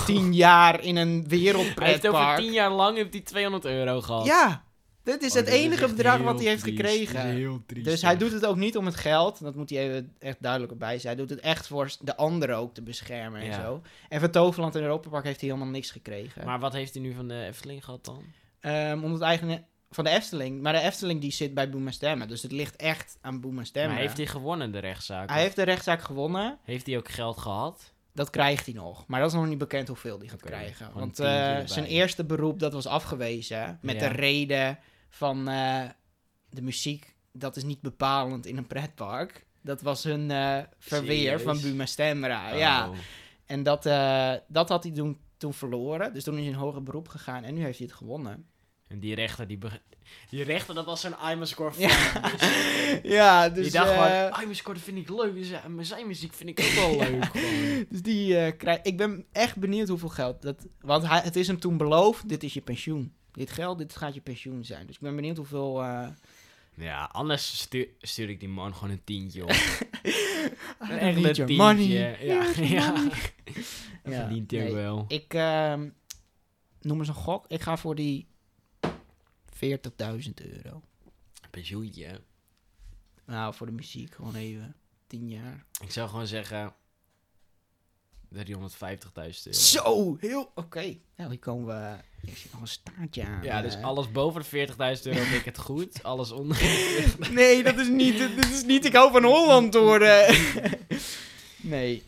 B: 10 jaar in een
A: Hij Oh. heeft over
B: wereldpretpark.
A: 10 jaar lang heeft hij 200 euro gehad.
B: Ja, dit is
A: Oh,
B: het
A: dit is
B: enige
A: echt
B: bedrag
A: heel
B: wat hij heeft
A: triest. Dit is
B: gekregen.
A: heel triest,
B: Dus hij
A: echt.
B: doet het ook niet om het geld. Dat moet hij even echt duidelijk erbij zijn. Hij doet het echt voor de anderen ook te beschermen en
A: Ja.
B: zo. En van Toverland en Europa Park heeft hij helemaal niks gekregen.
A: Maar wat heeft hij nu van de Efteling gehad dan?
B: Ehm, omdat eigenlijk van de Efteling. Maar de Efteling die zit bij Boema Stemmen. Dus het ligt echt aan Boema Stemmen.
A: Maar heeft hij gewonnen, de rechtszaak?
B: Hij heeft de rechtszaak gewonnen.
A: Heeft hij ook geld gehad?
B: Dat krijgt hij nog. Maar dat is nog niet bekend hoeveel hij gaat
A: Oké,
B: krijgen.
A: gewoon
B: Want
A: een tientje
B: eh,
A: erbij.
B: zijn eerste beroep, dat was afgewezen. Met
A: Ja.
B: de reden van eh, de muziek, dat is niet bepalend in een pretpark. Dat was hun eh, verweer
A: Serieus?
B: van Buma Stemra. Ah, Ja.
A: Oh.
B: En dat, eh, dat had hij toen, toen verloren. Dus toen is hij in hoger beroep gegaan en nu heeft hij het gewonnen.
A: En die rechter, die, be- die rechter, dat was zo'n IMA-score van.
B: ja,
A: Dus die dacht
B: eh, "Ah."
A: gewoon, IMA-score vind ik leuk, dus, eh, maar zijn muziek vind ik ook wel leuk. gewoon.
B: Dus die eh, krijg- Ik ben echt benieuwd hoeveel geld dat. Want hij, het is hem toen beloofd: dit is je pensioen. Dit geld, dit gaat je pensioen zijn. Dus ik ben benieuwd hoeveel. eh,
A: Ja, anders stuur, stuur ik die man gewoon een tientje op. Echt
B: need
A: een
B: your
A: tientje.
B: money.
A: Ja, ja. Dat
B: Ja,
A: verdient hij ook
B: nee.
A: wel.
B: Ik ehm, noem eens een gok. Ik ga voor die 40.000 euro.
A: Pensioentje.
B: Nou, voor de muziek gewoon even. 10 jaar.
A: Ik zou gewoon zeggen... 350.000 euro.
B: Zo, heel. Oké. Nou, hier komen we. Ik zit nog een staartje aan.
A: Ja, dus
B: eh.
A: alles boven de 40.000 euro vind ik het goed. Alles onder...
B: Nee, dat is niet. Dit is niet. Ik hou van Holland worden. nee.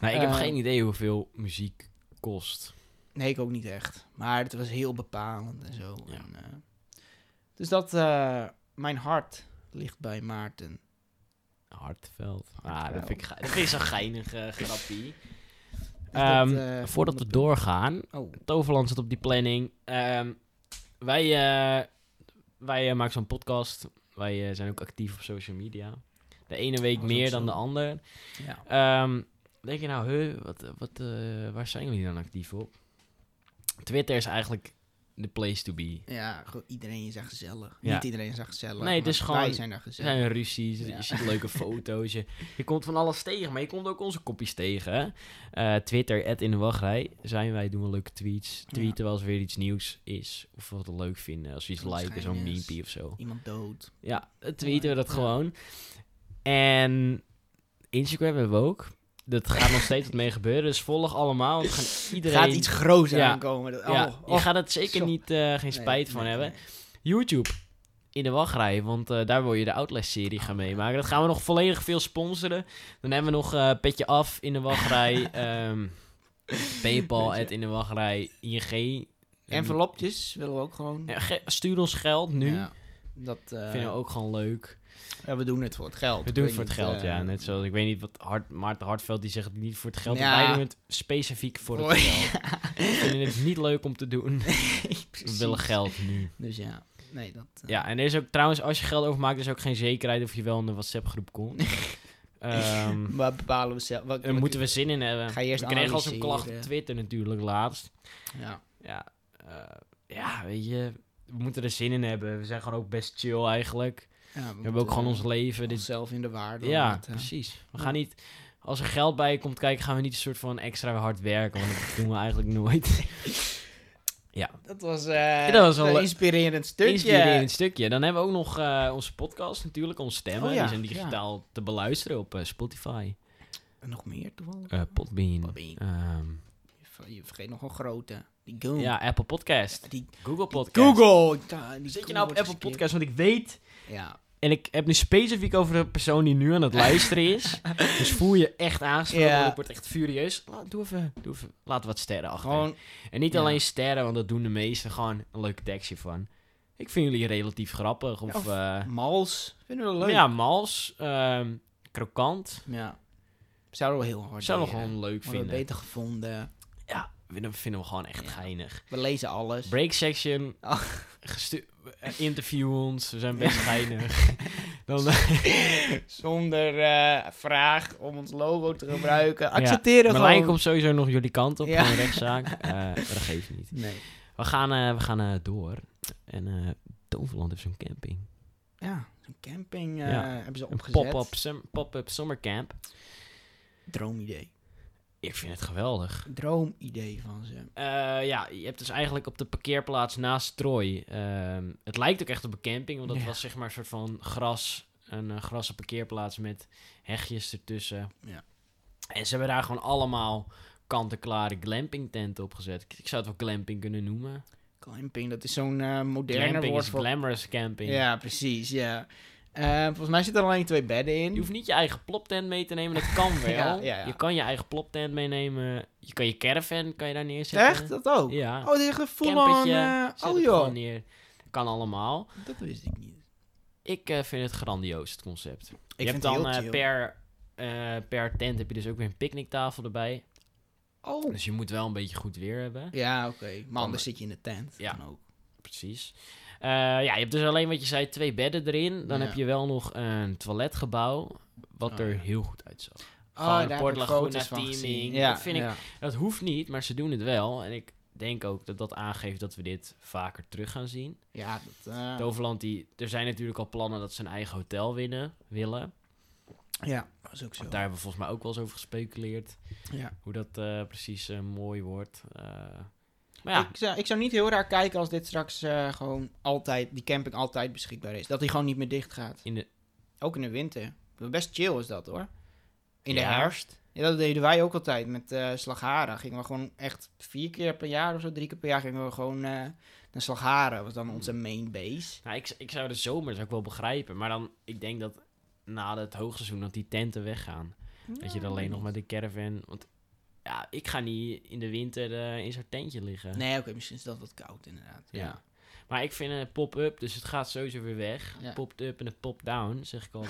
A: Nou, ik heb
B: Eh.
A: geen idee hoeveel muziek kost.
B: Nee, ik ook niet echt. Maar het was heel bepalend en zo.
A: Ja.
B: En, eh, dus dat, eh, mijn hart ligt bij Maarten.
A: Hartveld. Ah,
B: Hartveld.
A: dat vind ik, ge- dat vind ik zo'n geinige grappie.
B: Dus dat,
A: Ehm,
B: eh,
A: voordat we doorgaan,
B: Oh,
A: Toverland zit op die planning. Ehm, wij eh, wij eh, maken zo'n podcast. Wij eh, zijn ook actief op social media. De ene week
B: Oh, is
A: meer
B: dat
A: dan
B: zo?
A: de ander.
B: ja.
A: Ehm, denk je nou, huh, wat, wat, eh, waar zijn jullie dan actief op? Twitter is eigenlijk the place to be.
B: Ja, gewoon iedereen is daar gezellig.
A: Ja.
B: Niet iedereen is daar gezellig.
A: Nee, het
B: maar
A: is gewoon-
B: Wij zijn daar
A: Er
B: gezellig.
A: zijn ruzies,
B: Ja.
A: je ziet leuke foto's. Je, je komt van alles tegen, maar je komt ook onze kopjes tegen. hè. Eh, Twitter, in de wachtrij. Zijn wij, doen we leuke tweets. Tweeten we als er weer iets nieuws is. Of we wat we leuk vinden. Als we iets
B: Iets
A: liken, zo'n
B: geinig.
A: meepie of zo.
B: Iemand dood.
A: Ja, dan tweeten we dat
B: Ja.
A: gewoon. En Instagram hebben we ook. Dat gaat nog steeds wat mee gebeuren. Dus volg allemaal. want we gaan iedereen...
B: Gaat iets groots
A: Ja.
B: aankomen. Dat,
A: ja,
B: oh,
A: je
B: oh.
A: gaat het zeker
B: zo.
A: niet, eh, geen
B: Nee,
A: spijt van
B: nee,
A: hebben.
B: nee.
A: YouTube in de wachtrij, want eh, daar wil je de Outlast-serie
B: Oh,
A: gaan meemaken. Dat gaan we nog volledig veel sponsoren. Dan hebben we nog eh, Petje Af in de wachtrij, ehm, Paypal
B: Weet je.
A: at in de wachtrij, ING.
B: Envelopjes willen we ook gewoon.
A: Ja, ge- Stuur ons geld nu.
B: Ja. Dat eh,
A: Vinden we ook gewoon leuk.
B: ja, we doen het voor het geld.
A: We
B: Ik
A: doen het
B: weet
A: voor het
B: niet,
A: geld,
B: eh,
A: ja. Net zoals, ik weet niet wat Hart, Maarten Hartveld, die zegt het niet voor het geld.
B: Ja.
A: Wij doen het specifiek voor
B: Voor-
A: het geld. We vinden het niet leuk om te doen. We
B: precies.
A: willen geld nu.
B: Dus ja, nee, dat. eh,
A: Ja, en er is ook trouwens, als je geld overmaakt, is ook geen zekerheid of je wel in de WhatsApp-groep komt. Ehm
B: Maar bepalen we zelf. Wat,
A: daar
B: wat-
A: moeten we zin in hebben.
B: Ga je eerst
A: we kregen al zo'n klacht op
B: analyseren.
A: Twitter natuurlijk laatst.
B: Ja.
A: Ja, eh, ja, weet je, we moeten er zin in hebben. We zijn gewoon ook best chill eigenlijk.
B: Ja, eh,
A: We hebben ook gewoon ons leven. Dit...
B: zelf in de waarde.
A: Ja,
B: laten.
A: precies. We
B: Ja.
A: gaan niet, als er geld bij komt kijken, gaan we niet een soort van extra hard werken. Want dat doen we eigenlijk nooit.
B: Dat was, eh
A: Dat was wel
B: een
A: le-
B: inspirerend stukje.
A: Inspirerend stukje. Dan hebben we ook nog eh, onze podcast natuurlijk, onze stemmen.
B: Oh ja,
A: Die zijn
B: ja.
A: digitaal te beluisteren op eh, Spotify.
B: En nog meer toevallig.
A: eh Podbean.
B: Podbean.
A: Ehm,
B: Je ver- Je vergeet nog een grote. Die Google.
A: ja, Apple Podcast.
B: Die
A: Google Podcast.
B: Google. Ik dacht, die
A: Zit je
B: Google
A: nou op
B: wordt
A: Apple
B: geskipt.
A: Podcast? Want ik weet...
B: Ja.
A: En ik heb nu specifiek over de persoon die nu aan het luisteren is. dus voel je echt aangesproken.
B: Ja.
A: want Ik word echt furieus. Laat, doe even, doe even. Laat wat sterren achter.
B: Gewoon.
A: en niet
B: ja.
A: alleen sterren, want dat doen de meesten. Gewoon een leuke tekstje van. Ik vind jullie relatief grappig. Of, eh,
B: Mals. Vinden we leuk.
A: ja, mals. ehm, krokant.
B: Ja. Zouden we heel hard
A: Zou we
B: leren.
A: gewoon leuk
B: Hadden we
A: vinden.
B: beter gevonden.
A: Ja, vinden vinden we gewoon echt
B: Ja.
A: geinig.
B: We lezen alles.
A: Break section.
B: Oh.
A: Gestu- eh, interview ons. We zijn best geinig. Dan, eh,
B: Zonder eh, vraag om ons logo te gebruiken. Accepteren gewoon.
A: Marlijn komt sowieso nog jullie kant op.
B: Ja.
A: Een rechtszaak. Eh, dat geeft niet.
B: Nee.
A: We gaan, eh, we gaan eh, door. En eh Toverland heeft zo'n camping.
B: Ja, zo'n camping eh,
A: Ja.
B: hebben ze
A: Een
B: opgezet.
A: pop-up sum- pop-up summercamp.
B: Droomidee.
A: Ik vind het geweldig.
B: Droomidee van ze.
A: Eh, ja, je hebt dus eigenlijk op de parkeerplaats naast Troy. ehm, het lijkt ook echt op een camping, want dat
B: Ja.
A: was zeg maar een soort van gras. Een eh, grassen parkeerplaats met hegjes ertussen.
B: Ja.
A: En ze hebben daar gewoon allemaal kant-en-klare glamping tenten opgezet. Ik, ik zou het wel glamping kunnen noemen.
B: Glamping, dat is zo'n eh moderne
A: Glamping
B: woord
A: is
B: voor...
A: glamorous camping.
B: Ja, precies, ja. Eh, volgens mij zitten er alleen twee bedden in.
A: Je hoeft niet je eigen ploptent mee te nemen, dat kan wel.
B: Ja, ja, ja.
A: Je kan je eigen ploptent meenemen. Je kan je caravan kan je daar neerzetten.
B: Echt? Dat ook?
A: Ja.
B: Oh, dit is echt een full-on...
A: Campertje,
B: eh,
A: Zet
B: oh
A: het
B: joh,
A: gewoon neer. Kan allemaal.
B: dat wist ik niet.
A: Ik eh, vind het grandioos, het concept.
B: Ik
A: je
B: vind
A: hebt
B: het
A: dan
B: heel
A: eh,
B: chill.
A: per, eh, per tent heb je dus ook weer een picknicktafel erbij.
B: Oh.
A: Dus je moet wel een beetje goed weer hebben.
B: Ja, oké. Maar anders zit je in de tent.
A: Ja.
B: Dan ook.
A: Precies. Eh, ja, je hebt dus alleen wat je zei, twee bedden erin. Dan
B: Ja.
A: heb je wel nog een toiletgebouw, wat
B: Oh,
A: er
B: ja.
A: heel goed uitzag.
B: Oh,
A: Gewoon
B: daar
A: Port
B: heb ik
A: Laguna
B: foto's van
A: teaming.
B: gezien.
A: Dat
B: Ja,
A: vind ik-
B: ja.
A: Dat hoeft niet, maar ze doen het wel. En ik denk ook dat dat aangeeft dat we dit vaker terug gaan zien.
B: Ja, dat... eh,
A: Toverland, die, er zijn natuurlijk al plannen dat ze een eigen hotel winnen, willen.
B: ja, dat is ook zo.
A: Daar hebben we volgens mij ook wel eens over gespeculeerd.
B: Ja.
A: Hoe dat eh, precies eh, mooi wordt. Eh, maar ja,
B: Ik, zou, ik zou niet heel raar kijken als dit straks eh, gewoon altijd, die camping altijd beschikbaar is. Dat hij gewoon niet meer dicht gaat.
A: In de-
B: Ook in de winter. Best chill is dat hoor. In de
A: Ja.
B: herfst. Ja, dat deden wij ook altijd met eh Slagharen. Gingen we gewoon echt vier keer per jaar of zo, drie keer per jaar gingen we gewoon eh, naar Slagharen. was dan onze main base.
A: nou, ik, ik zou de zomer zou ik wel begrijpen. Maar dan, ik denk dat na het hoogseizoen dat die tenten weggaan. dat je er alleen nog met de caravan... Want ja, ik ga niet in de winter eh, in zo'n tentje liggen.
B: Nee, oké, misschien is dat wat koud inderdaad.
A: Ja.
B: Ja.
A: Maar ik vind een pop-up, dus het gaat sowieso weer weg.
B: Ja.
A: Popt up en het pop-down, zeg ik al.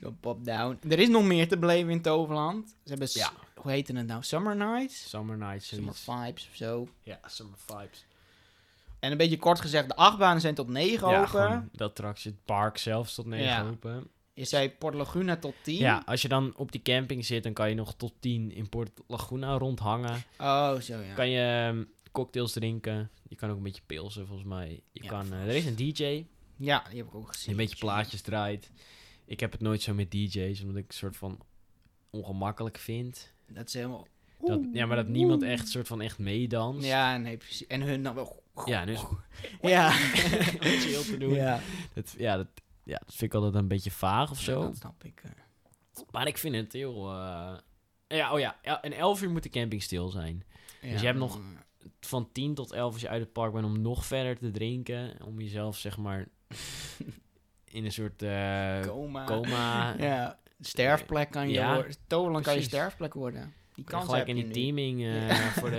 B: Zo Pop down. Er is nog meer te beleven in Toverland. Ze hebben, s-
A: Ja.
B: hoe heette het nou, Summer Nights?
A: Summer nights.
B: Summer
A: zoiets.
B: Vibes of zo.
A: Ja, summer vibes.
B: En een beetje kort gezegd, de achtbanen zijn tot 9
A: Ja,
B: open.
A: gewoon dat attractie, het park zelf tot 9
B: Ja.
A: open.
B: Je zei Port Laguna tot 10.
A: Ja, als je dan op die camping zit, dan kan je nog tot 10 in Port Laguna rondhangen.
B: Oh, zo ja.
A: Kan je ehm, cocktails drinken. Je kan ook een beetje pilsen, volgens mij. Je
B: Ja,
A: kan, eh,
B: vast.
A: er is een DJ
B: Ja, die heb ik ook
A: die
B: gezien.
A: een beetje plaatjes draait. Ik heb het nooit zo met DJ's, omdat ik het soort van ongemakkelijk vind.
B: Dat is helemaal...
A: Dat, ja, maar dat niemand echt soort van echt meedanst.
B: Ja, nee, precies. En hun dan wel...
A: Ja, dus
B: Ja.
A: chill te doen.
B: Ja,
A: Dat, ja, dat, ja, dat vind ik altijd een beetje vaag of
B: Ja,
A: zo.
B: dat snap ik. eh.
A: Maar ik vind het heel... eh, Ja, oh ja, el- en 11 uur moet de camping stil zijn.
B: Ja,
A: Dus je hebt nog-
B: eh,
A: Van 10 tot 11 als je uit het park bent om nog verder te drinken. Om jezelf, zeg maar, in een soort eh,
B: Coma.
A: coma...
B: Ja, sterfplek kan je
A: Ja,
B: worden. Toverland kan je
A: precies.
B: sterfplek worden. Die
A: Kan
B: kans
A: gelijk in
B: heb je
A: die
B: nu.
A: teaming eh,
B: Ja.
A: voor de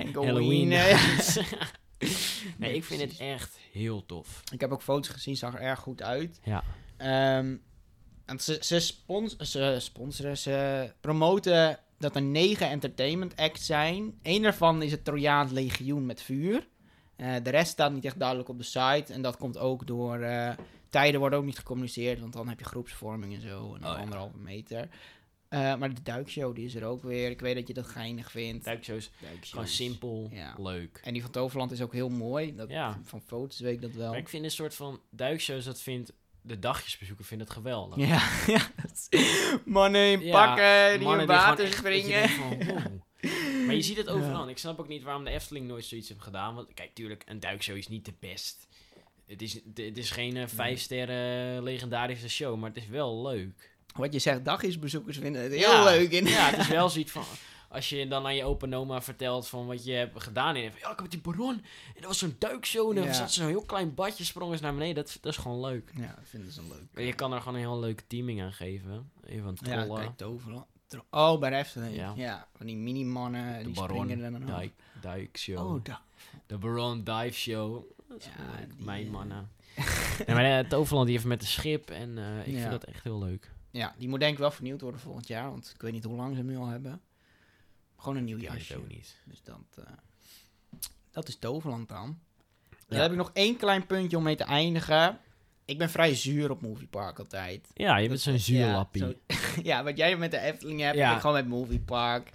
B: En
A: Halloween.
B: Halloween. eh,
A: nee, ik vind het
B: precies.
A: echt heel tof.
B: Ik heb ook foto's gezien, zag er erg goed uit.
A: Ja.
B: Ehm, en ze, ze, spons ze sponsoren, ze promoten dat er negen entertainment acts zijn. Eén daarvan is het Trojaans Legioen met vuur. Eh, de rest staat niet echt duidelijk op de site. En dat komt ook door... eh, tijden worden ook niet gecommuniceerd, want dan heb je groepsvorming en zo. En
A: Oh, ja.
B: anderhalve meter. Eh, maar de duikshow die is er ook weer. Ik weet dat je dat geinig vindt.
A: Duikshows,
B: Duikshows.
A: gewoon simpel,
B: Ja.
A: leuk.
B: En die van Toverland is ook heel mooi. Dat,
A: Ja.
B: Van foto's weet ik dat wel.
A: Maar ik vind een soort van duikshows, dat vindt de dagjesbezoeker vindt het geweldig.
B: Ja, ja. dat is- Mannen in
A: Ja,
B: pakken, die in
A: Mannen die gewoon
B: water
A: echt- dat je
B: springen.
A: denkt van, wow. Maar je ziet het
B: Ja.
A: overal. En Ik snap ook niet waarom de Efteling nooit zoiets heeft gedaan. Want kijk, tuurlijk, een duikshow is niet de best. Het is, het het is geen eh, vijf sterren legendarische show, maar het is wel leuk.
B: Wat je zegt, dagjesbezoekers vinden het heel
A: Ja.
B: leuk. In.
A: Ja, het is wel zoiets van... Als je dan aan je open oma vertelt van wat je hebt gedaan. En van, ja, ik heb met die baron. En dat was zo'n duikshow. En dan
B: Ja.
A: zat ze in een heel klein badje, sprong eens naar beneden. Dat, dat is gewoon leuk.
B: Ja, dat vinden ze leuk.
A: Je kan er gewoon een heel leuke teaming aan geven. Even een
B: Ja,
A: trollen.
B: kijk, overal. Oh, bij de Efteling.
A: Ja.
B: Ja. van die mini-mannen,
A: de
B: die springen er
A: baron
B: dan af.
A: dijk, duikshow.
B: Oh, da-
A: De Baron Dive Show. Dat is
B: Ja,
A: gewoon leuk.
B: die,
A: mijn
B: eh,
A: mannen. nee, maar eh, Toverland die heeft met een schip en eh, ik
B: Ja.
A: vind dat echt heel leuk.
B: eh, Ja, die moet denk ik wel vernieuwd worden volgend jaar. Want ik weet niet hoe lang ze hem nu al hebben. Gewoon een nieuw
A: Ik weet het
B: jasje.
A: ook niet.
B: Dus dat, eh, dat is Toverland dan.
A: Ja.
B: Dan heb ik nog één klein puntje om mee te eindigen. Ik ben vrij zuur op Movie Park altijd.
A: Ja, je bent zo'n zuurlappie.
B: Ja, zo- ja, wat jij met de Efteling hebt,
A: Ja.
B: heb ik gewoon met Movie Park.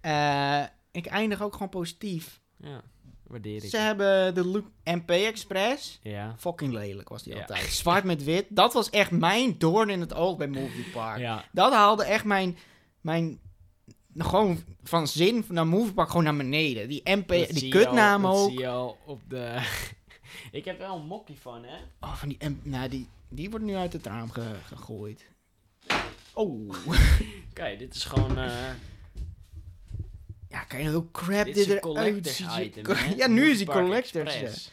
B: Eh, ik eindig ook gewoon positief.
A: Ja, waardeer ik.
B: Ze hebben de Loop MP Express.
A: Ja.
B: Fucking lelijk was die
A: Ja.
B: altijd. Zwart met wit. Dat was echt mijn doorn in het oog bij Movie Park.
A: Ja.
B: Dat haalde echt mijn, mijn gewoon van zin naar Movie Park gewoon naar beneden. Die MP,
A: Dat zie
B: die
A: je al-
B: kutnaam
A: dat
B: ook.
A: zie je al op de... ik heb wel een mokkie van, hè?
B: Oh, van die MP, nou die, die wordt nu uit het raam ge- gegooid. Oh.
A: Kijk, dit is gewoon... eh,
B: Ja, kijk nou hoe crap
A: dit
B: dit,
A: is een
B: eruit
A: collector's
B: ziet.
A: item,
B: Co-
A: hè?
B: Ja, nu is die
A: Park
B: collector's. eh.
A: Express.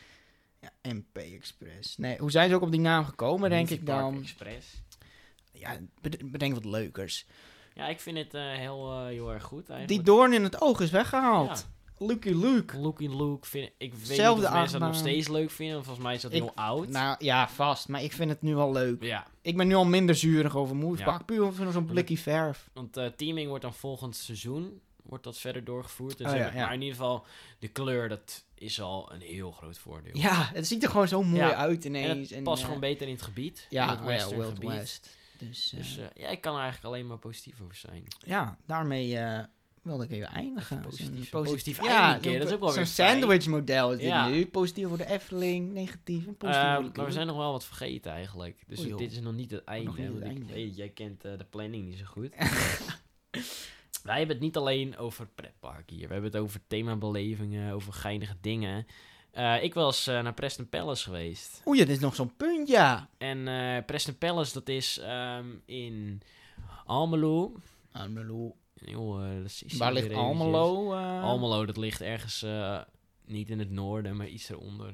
B: Ja, MP Express. Nee, hoe zijn ze ook op die naam gekomen, denk
A: Movie
B: ik
A: Park
B: dan?
A: Express.
B: Ja, bed- bedenk wat leukers.
A: Ja, ik vind het eh, heel, eh, heel erg goed eigenlijk.
B: Die doorn in het oog is weggehaald.
A: Ja.
B: Lucky Luke.
A: Looky Luke, vind, ik weet
B: Zelfde
A: niet of mensen dat nog
B: achtbaan.
A: steeds leuk vinden, want volgens mij is dat
B: Ik-
A: heel oud.
B: Nou ja, vast. Maar ik vind het nu al leuk.
A: ja,
B: Ik ben nu al minder zuurig over Movie
A: Ja.
B: Park. Puur van zo'n blikkie verf.
A: Want eh, teaming wordt dan volgend seizoen wordt dat verder doorgevoerd. Dus En
B: Oh
A: ze
B: ja,
A: hebben-
B: ja.
A: Maar in ieder geval, de kleur, dat is al een heel groot voordeel.
B: Ja, het ziet er gewoon zo mooi
A: Ja.
B: uit
A: en
B: ineens.
A: het past
B: eh,
A: gewoon beter in het gebied. in
B: Ja,
A: het
B: oh ja,
A: western
B: Wild
A: gebied.
B: West. Dus, eh,
A: Dus eh, ja, ik kan er eigenlijk alleen maar positief over zijn.
B: ja, daarmee eh, wilde ik even eindigen.
A: Positief,
B: Zo'n
A: een positief einde keer,
B: zo'n
A: dat is ook
B: po-
A: wel weer
B: Zo'n
A: fijn.
B: sandwich model is dit
A: Ja.
B: nu. Positief voor de Efteling, negatief en positief
A: Ehm,
B: voor de
A: maar we
B: club.
A: zijn nog wel wat vergeten eigenlijk. Dus
B: Oh, joh.
A: dit is nog niet het einde.
B: niet het
A: want ik
B: einde.
A: weet, jij kent eh, de planning niet zo goed. Wij hebben het niet alleen over pretpark hier. We hebben het over themabelevingen, over geinige dingen. Eh, ik was eh, naar Preston Palace geweest.
B: Oei, dat is nog zo'n punt, ja.
A: En eh Preston Palace, dat is ehm, in Almelo.
B: Almelo.
A: Joh, eh, dat is
B: Nou, Waar
A: hier
B: ligt
A: weer eventjes.
B: Almelo? eh?
A: Almelo, dat ligt ergens eh, niet in het noorden, maar iets eronder.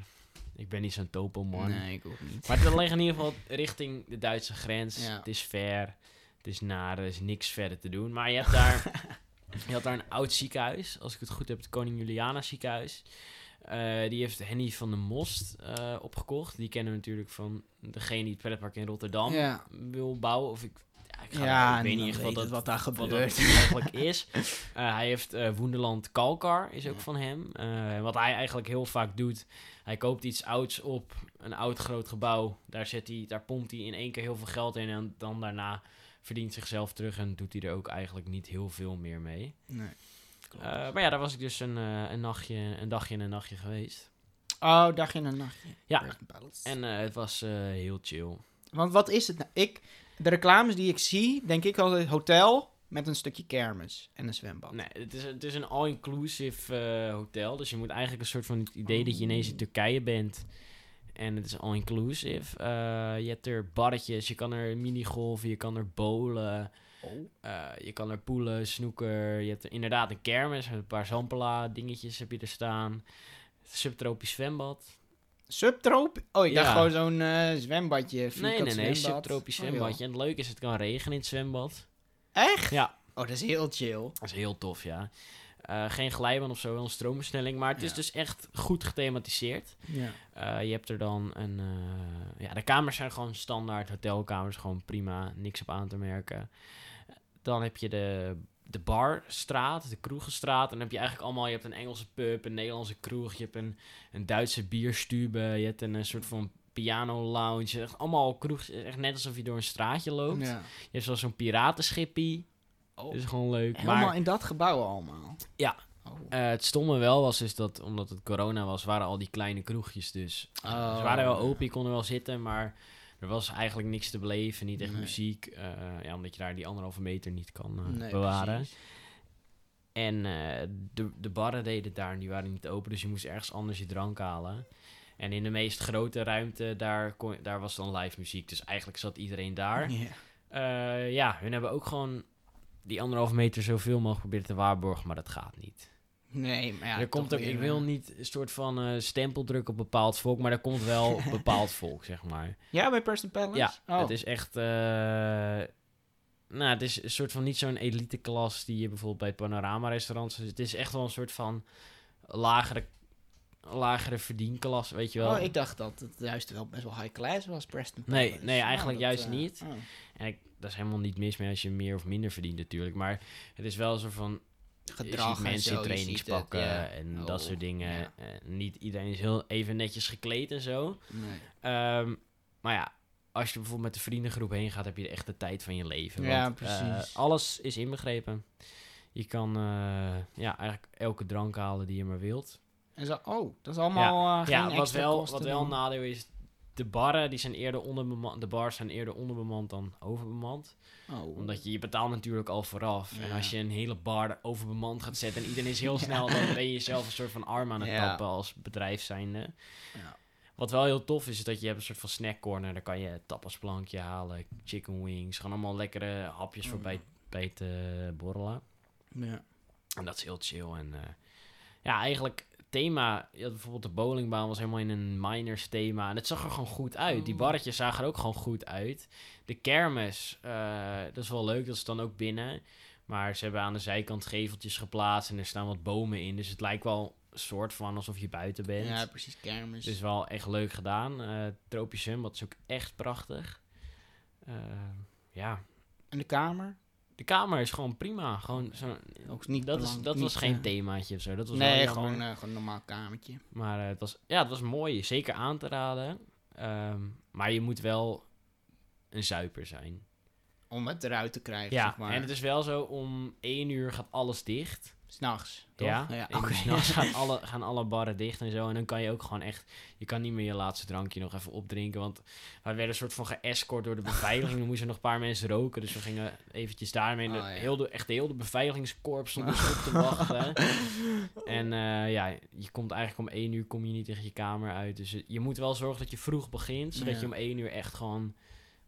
A: Ik ben niet zo'n topo man.
B: Nee, ik ook niet.
A: Maar dat ligt in ieder geval richting de Duitse grens.
B: Ja.
A: Het is ver, het is naar, er is niks verder te doen. Maar je hebt daar, je had daar een oud ziekenhuis. Als ik het goed heb, het Koning Juliana ziekenhuis. Eh, die heeft Henny van de Most eh, opgekocht. Die kennen we natuurlijk van degene die het pretpark in Rotterdam
B: Ja,
A: wil bouwen. Of ik, ja, ik, ga
B: ja
A: ik weet niet echt wat dat,
B: dat, wat daar
A: wat dat
B: gebeurt.
A: eigenlijk is. Eh, hij heeft eh Woenderland Kalkar, is ook
B: Ja.
A: van hem. Eh, wat hij eigenlijk heel vaak doet, hij koopt iets ouds op, een oud groot gebouw. Daar, zet hij, daar pompt hij in één keer heel veel geld in en dan daarna verdient zichzelf terug en doet hij er ook eigenlijk niet heel veel meer mee.
B: Nee. klopt.
A: Eh, maar ja, daar was ik dus een, eh, een, nachtje, een dagje en een nachtje geweest.
B: oh, dag in en nachtje.
A: Ja.
B: Breaking Balance.
A: En eh, het was eh, heel chill.
B: Want wat is het nou? Ik, de reclames die ik zie, denk ik altijd hotel met een stukje kermis en een zwembad.
A: Nee, het is, het is een all-inclusive eh, hotel. Dus je moet eigenlijk een soort van het idee dat je ineens
B: Oh.
A: in Turkije bent. En het is all-inclusive. Eh, je hebt er barretjes, je kan er minigolven, je kan er bowlen.
B: Oh.
A: Eh, je kan er poelen, snoeker. Je hebt er inderdaad een kermis met een paar zampela dingetjes heb je er staan. Subtropisch zwembad.
B: Subtroop? Oh, ik dacht
A: Ja.
B: gewoon zo'n eh, zwembadje,
A: Nee,
B: vierkant
A: nee, nee.
B: zwembad.
A: Subtropisch
B: Oh, joh.
A: zwembadje. En het leuke is, het kan regenen in het zwembad.
B: Echt?
A: Ja.
B: Oh, dat is heel chill.
A: Dat is heel tof, ja. Eh, geen glijbaan of zo, wel een stroomversnelling. Maar het is
B: Ja.
A: dus echt goed gethematiseerd.
B: Ja.
A: Eh, je hebt er dan een... eh, ja, de kamers zijn gewoon standaard. Hotelkamers, gewoon prima. Niks op aan te merken. Dan heb je de, de barstraat, de kroegenstraat. En dan heb je eigenlijk allemaal... Je hebt een Engelse pub, een Nederlandse kroeg. Je hebt een, een Duitse bierstube. Je hebt een, eh, soort van piano lounge. Echt allemaal kroeg. Echt net alsof je door een straatje loopt.
B: Ja.
A: Je hebt zelfs zo'n piratenschipje.
B: Oh.
A: Dat is gewoon leuk.
B: Helemaal
A: maar-
B: in dat gebouw allemaal.
A: Ja.
B: Oh.
A: eh, het stomme wel was is dat, omdat het corona was, waren al die kleine kroegjes dus.
B: Oh.
A: Ze waren wel open, je kon er wel zitten, maar er was eigenlijk niks te beleven. Niet echt
B: Nee.
A: muziek, eh, ja, omdat je daar die anderhalve meter niet kan eh,
B: Nee,
A: bewaren.
B: precies.
A: En eh, de, de barren deden het daar en die waren niet open, dus je moest ergens anders je drank halen. En in de meest grote ruimte, daar, kon, daar was dan live muziek. Dus eigenlijk zat iedereen daar.
B: Ja.
A: Eh, ja, hun hebben ook gewoon die anderhalve meter zoveel mogelijk proberen te waarborgen, maar dat gaat niet.
B: Nee, maar ja.
A: er komt
B: toch
A: ook,
B: weer,
A: ik wil
B: eh,
A: niet een soort van eh, stempeldruk op bepaald volk, maar er komt wel bepaald volk, zeg maar.
B: Ja, bij Preston Palace?
A: Ja,
B: Oh.
A: het is echt. eh, nou, het is een soort van niet zo'n elite klas die je bijvoorbeeld bij panorama restaurants. Het is echt wel een soort van lagere, lagere verdienklasse, weet je wel.
B: Oh, ik dacht dat het juist wel best wel high class was, Preston
A: Nee,
B: Palace.
A: nee,
B: Nou,
A: eigenlijk
B: dat,
A: juist
B: eh,
A: niet.
B: oh.
A: En ik, daar is helemaal niet mis mee als je meer of minder verdient, natuurlijk. Maar het is wel een soort van. je
B: Gedrag
A: ziet
B: en
A: mensen
B: zo,
A: in
B: je
A: trainingspakken
B: ziet het, ja.
A: en dat
B: Oh,
A: soort dingen.
B: ja.
A: Eh, niet iedereen is heel even netjes gekleed en zo.
B: Nee.
A: Ehm, maar ja, als je bijvoorbeeld met de vriendengroep heen gaat, heb je echt de tijd van je leven.
B: Ja,
A: want, eh,
B: precies.
A: alles is inbegrepen. Je kan eh, ja, eigenlijk elke drank halen die je maar wilt.
B: En zo, oh, dat is allemaal eh, geen
A: ja, wat
B: extra
A: wel,
B: kosten
A: wat wel een
B: dan.
A: nadeel is, de barren die zijn eerder onderbemand, de bars zijn eerder onderbemand dan overbemand.
B: Oh.
A: Omdat je, je betaalt natuurlijk al vooraf. En
B: Ja.
A: als je een hele bar overbemand gaat zetten en iedereen is heel snel, dan ben je jezelf een soort van arm aan het
B: Ja.
A: tappen als bedrijf zijnde.
B: Ja.
A: Wat wel heel tof is, is dat je hebt een soort van snackcorner. Daar kan je tapasplankje halen, chicken wings. Gewoon allemaal lekkere hapjes voor
B: Mm.
A: bij, bij het eh, borrelen.
B: Ja.
A: En dat is heel chill. En eh, ja, eigenlijk het thema... Je had bijvoorbeeld de bowlingbaan was helemaal in een miners thema. En het zag er gewoon goed uit. Die
B: Oh.
A: barretjes zagen er ook gewoon goed uit. De kermis, eh, dat is wel leuk. Dat is dan ook binnen. Maar ze hebben aan de zijkant geveltjes geplaatst. En er staan wat bomen in. Dus het lijkt wel een soort van alsof je buiten bent. Dus-
B: ja, precies, kermis.
A: Het is wel echt leuk gedaan. Eh Tropisch Zwembad is ook echt prachtig. Eh, ja,
B: En de kamer?
A: de kamer is gewoon prima. Gewoon zo,
B: Ook niet
A: dat is,
B: belangrijk,
A: dat
B: niet,
A: was geen
B: eh,
A: themaatje of zo. Dat was wel
B: Nee,
A: jammer.
B: gewoon, eh, gewoon een normaal kamertje.
A: Maar eh, het, was, ja, het was mooi. Zeker aan te raden. Ehm, maar je moet wel een zuiper zijn.
B: Om het eruit te krijgen,
A: Ja,
B: zeg maar.
A: en het is wel zo, om één uur gaat alles dicht.
B: S'nachts, toch?
A: Ja, ja
B: oké.
A: gaan, alle, gaan alle barren dicht en zo. En dan kan je ook gewoon echt... Je kan niet meer je laatste drankje nog even opdrinken. Want wij werden een soort van geëscort door de beveiliging. Er moesten nog een paar mensen roken. Dus we gingen eventjes daarmee...
B: Oh,
A: de,
B: ja.
A: heel de, echt heel de beveiligingskorps stond ons op te wachten. En eh, ja, je komt eigenlijk om één uur kom je niet tegen je kamer uit. Dus je- je moet wel zorgen dat je vroeg begint. Zodat
B: Ja.
A: je om één uur echt gewoon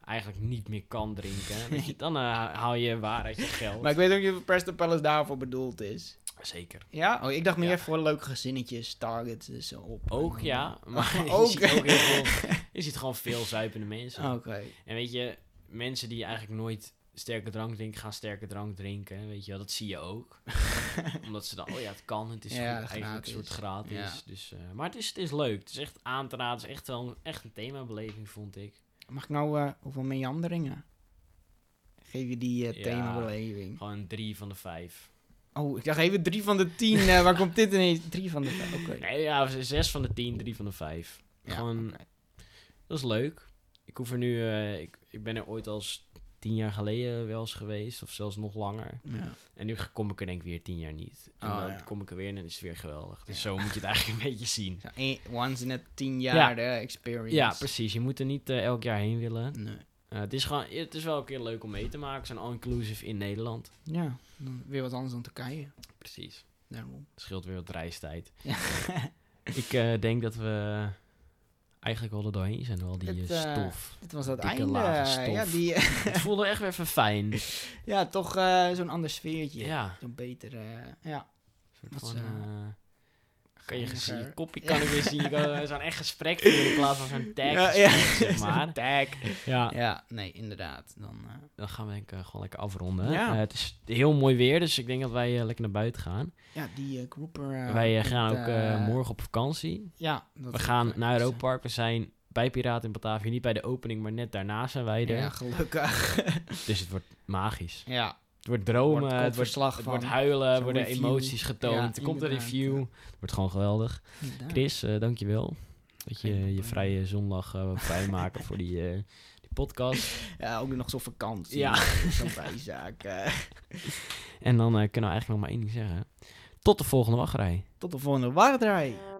A: eigenlijk niet meer kan drinken. Want je- Dan eh, haal je waar uit je geld.
B: Maar ik weet ook niet of Preston Palace daarvoor bedoeld is.
A: Zeker.
B: Ja? Oh, ik dacht meer
A: Ja.
B: voor leuke gezinnetjes, targets en zo op.
A: Ook ja, maar
B: ook. Oh.
A: je, ziet ook heel veel, je ziet gewoon veel zuipende mensen.
B: Oké.
A: En weet je, mensen die eigenlijk nooit sterke drank drinken, gaan sterke drank drinken. Weet je wel, dat zie je ook. Omdat ze dan, oh ja, het kan, het is
B: Ja,
A: goed, eigenlijk
B: gratis.
A: een soort gratis.
B: Ja.
A: Dus, eh, maar het is, het is leuk, het is echt aan te raden, het is echt wel een, echt een themabeleving, vond ik.
B: Mag ik nou eh, hoeveel meanderingen? Geef je die eh
A: Ja.
B: themabeleving.
A: Gewoon een drie van de vijf.
B: Oh, ik dacht even drie van de tien. eh, waar komt dit ineens? Drie van de vijf. Oké.
A: Nee, ja, zes van de tien, drie van de vijf.
B: Ja,
A: gewoon-
B: oké.
A: Dat is leuk. Ik hoef er nu, eh, ik, ik ben er ooit als tien jaar geleden wel eens geweest, of zelfs nog langer.
B: Ja.
A: En nu kom ik er denk ik weer tien jaar niet. En
B: Oh,
A: dan
B: ja.
A: kom ik er weer en dan is het weer geweldig. Dus zo moet je het eigenlijk een beetje zien.
B: Zo, eh, Once in a tien jaar eh, experience.
A: Ja, precies. Je moet er niet eh, elk jaar heen willen.
B: Nee.
A: Eh, het, is gewoon, het is wel een keer leuk om mee te maken. Zo'n all-inclusive in Nederland.
B: Ja, dan weer wat anders dan Turkije.
A: Precies.
B: Daarom.
A: Het scheelt weer wat reistijd.
B: Ja.
A: Ik eh, denk dat we eigenlijk al er doorheen zijn, door al die
B: Het,
A: eh,
B: eh,
A: stof.
B: Dit was dat
A: Dikke
B: einde.
A: lage stof.
B: Ja, die,
A: het voelde echt weer even fijn.
B: ja, toch eh, zo'n ander sfeertje.
A: Ja.
B: Zo'n beter, eh, ja.
A: Soort
B: Wat,
A: van,
B: eh,
A: eh, kan je
B: geiniger.
A: gezien, je kopje kan ik weer zien. Je kan eh, zo'n echt gesprek voeren in plaats van zo'n tag.
B: Ja,
A: gesprek,
B: ja.
A: Zeg maar.
B: Tag.
A: Ja.
B: Ja, nee, inderdaad. Dan, eh,
A: Dan gaan we denk ik eh, gewoon lekker afronden.
B: Ja.
A: Eh, het is heel mooi weer, dus ik denk dat wij eh, lekker naar buiten gaan.
B: ja, die eh, groeper... eh,
A: wij eh,
B: komt,
A: gaan ook eh,
B: eh,
A: morgen op vakantie.
B: Ja. dat eh, dus,
A: We
B: is-
A: gaan naar Europa Park. We zijn bij Piraten in Batavia. Niet bij de opening, maar net daarna zijn wij er.
B: eh, Ja, gelukkig.
A: Dus het wordt magisch.
B: ja.
A: Het wordt dromen,
B: Wordt
A: eh, het wordt,
B: verslag
A: het
B: van.
A: wordt huilen,
B: Zo'n
A: er worden
B: review.
A: emoties
B: Ja,
A: getoond. er komt een
B: inderdaad,
A: review.
B: ja.
A: Het wordt gewoon geweldig.
B: inderdaad.
A: Chris, eh dankjewel. Dat
B: Geen
A: je je
B: probleem.
A: vrije zondag eh wil vrijmaken voor die, eh, die podcast.
B: Ja, ook nog zo'n vakantie.
A: Ja.
B: Zo'n bijzaak. eh.
A: En dan eh, kunnen we eigenlijk nog maar één ding zeggen. Tot de volgende wachtrij.
B: tot de volgende wachtrij.